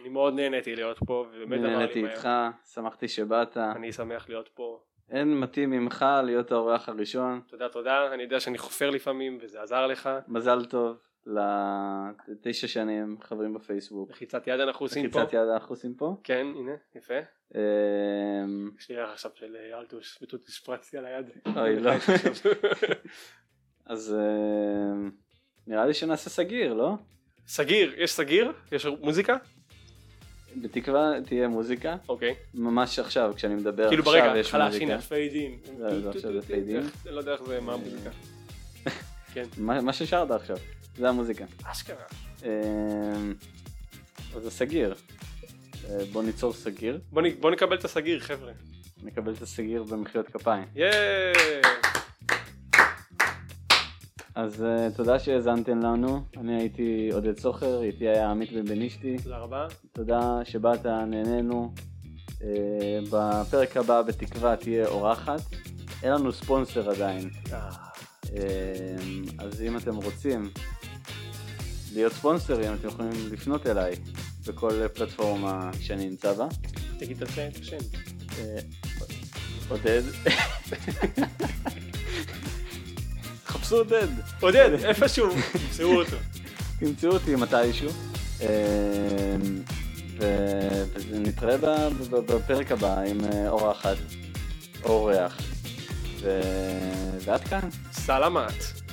B: אני מאוד נהניתי להיות פה, ובאמת
A: אני
B: אמר לי
A: נהניתי
B: מהר.
A: איתך, שמחתי שבאת.
B: אני שמח להיות פה.
A: אין מתאים ממך להיות האורח הראשון.
B: תודה תודה, אני יודע שאני חופר לפעמים וזה עזר לך.
A: מזל טוב לתשע שנים חברים בפייסבוק.
B: לחיצת יד אנחנו עושים פה.
A: לחיצת יד אנחנו עושים פה.
B: כן, הנה, יפה.
A: אמ,
B: יש לי ריח עכשיו של אה, אלטוש, פשוט השפרצתי על היד.
A: אוי, לא. אז אמ, נראה לי שנעשה סגיר, לא?
B: [laughs] סגיר, יש סגיר? יש מוזיקה?
A: בתקווה תהיה מוזיקה.
B: אוקיי.
A: ממש עכשיו, כשאני מדבר
B: כאילו
A: עכשיו
B: ברגע,
A: יש
B: התחלה,
A: מוזיקה.
B: הנה, פיידים.
A: לא, לא, עכשיו זה פיידים.
B: לא יודע איך זה, מה
A: [laughs]
B: המוזיקה. כן.
A: מה, מה ששרת עכשיו, זה המוזיקה.
B: אשכרה.
A: אמ, אז זה סגיר. אה, בוא ניצור סגיר,
B: בוא, נ, בוא נקבל את הסגיר חבר'ה.
A: נקבל את הסגיר במחיאות כפיים.
B: ייי!
A: אז אה, תודה שהאזנתם לנו, אני הייתי עודד סוחר, איתי היה עמית בנבנישתי,
B: תודה רבה.
A: תודה שבאת, נהנינו. אה, בפרק הבא בתקווה תהיה אורחת, אין לנו ספונסר עדיין, אה, אז אם אתם רוצים להיות ספונסרים, אתם יכולים לפנות אליי בכל פלטפורמה שאני נמצא בה.
B: תגיד את השם, את השם.
A: אה, עודד. [laughs] חפשו עודד,
B: עודד, איפשהו, תמצאו אותו.
A: [laughs] תמצאו אותי מתישהו. אה, ו- ונתראה ב- ב- בפרק הבא עם אה, אורחת, אורח. ו- ועד כאן.
B: סלמת.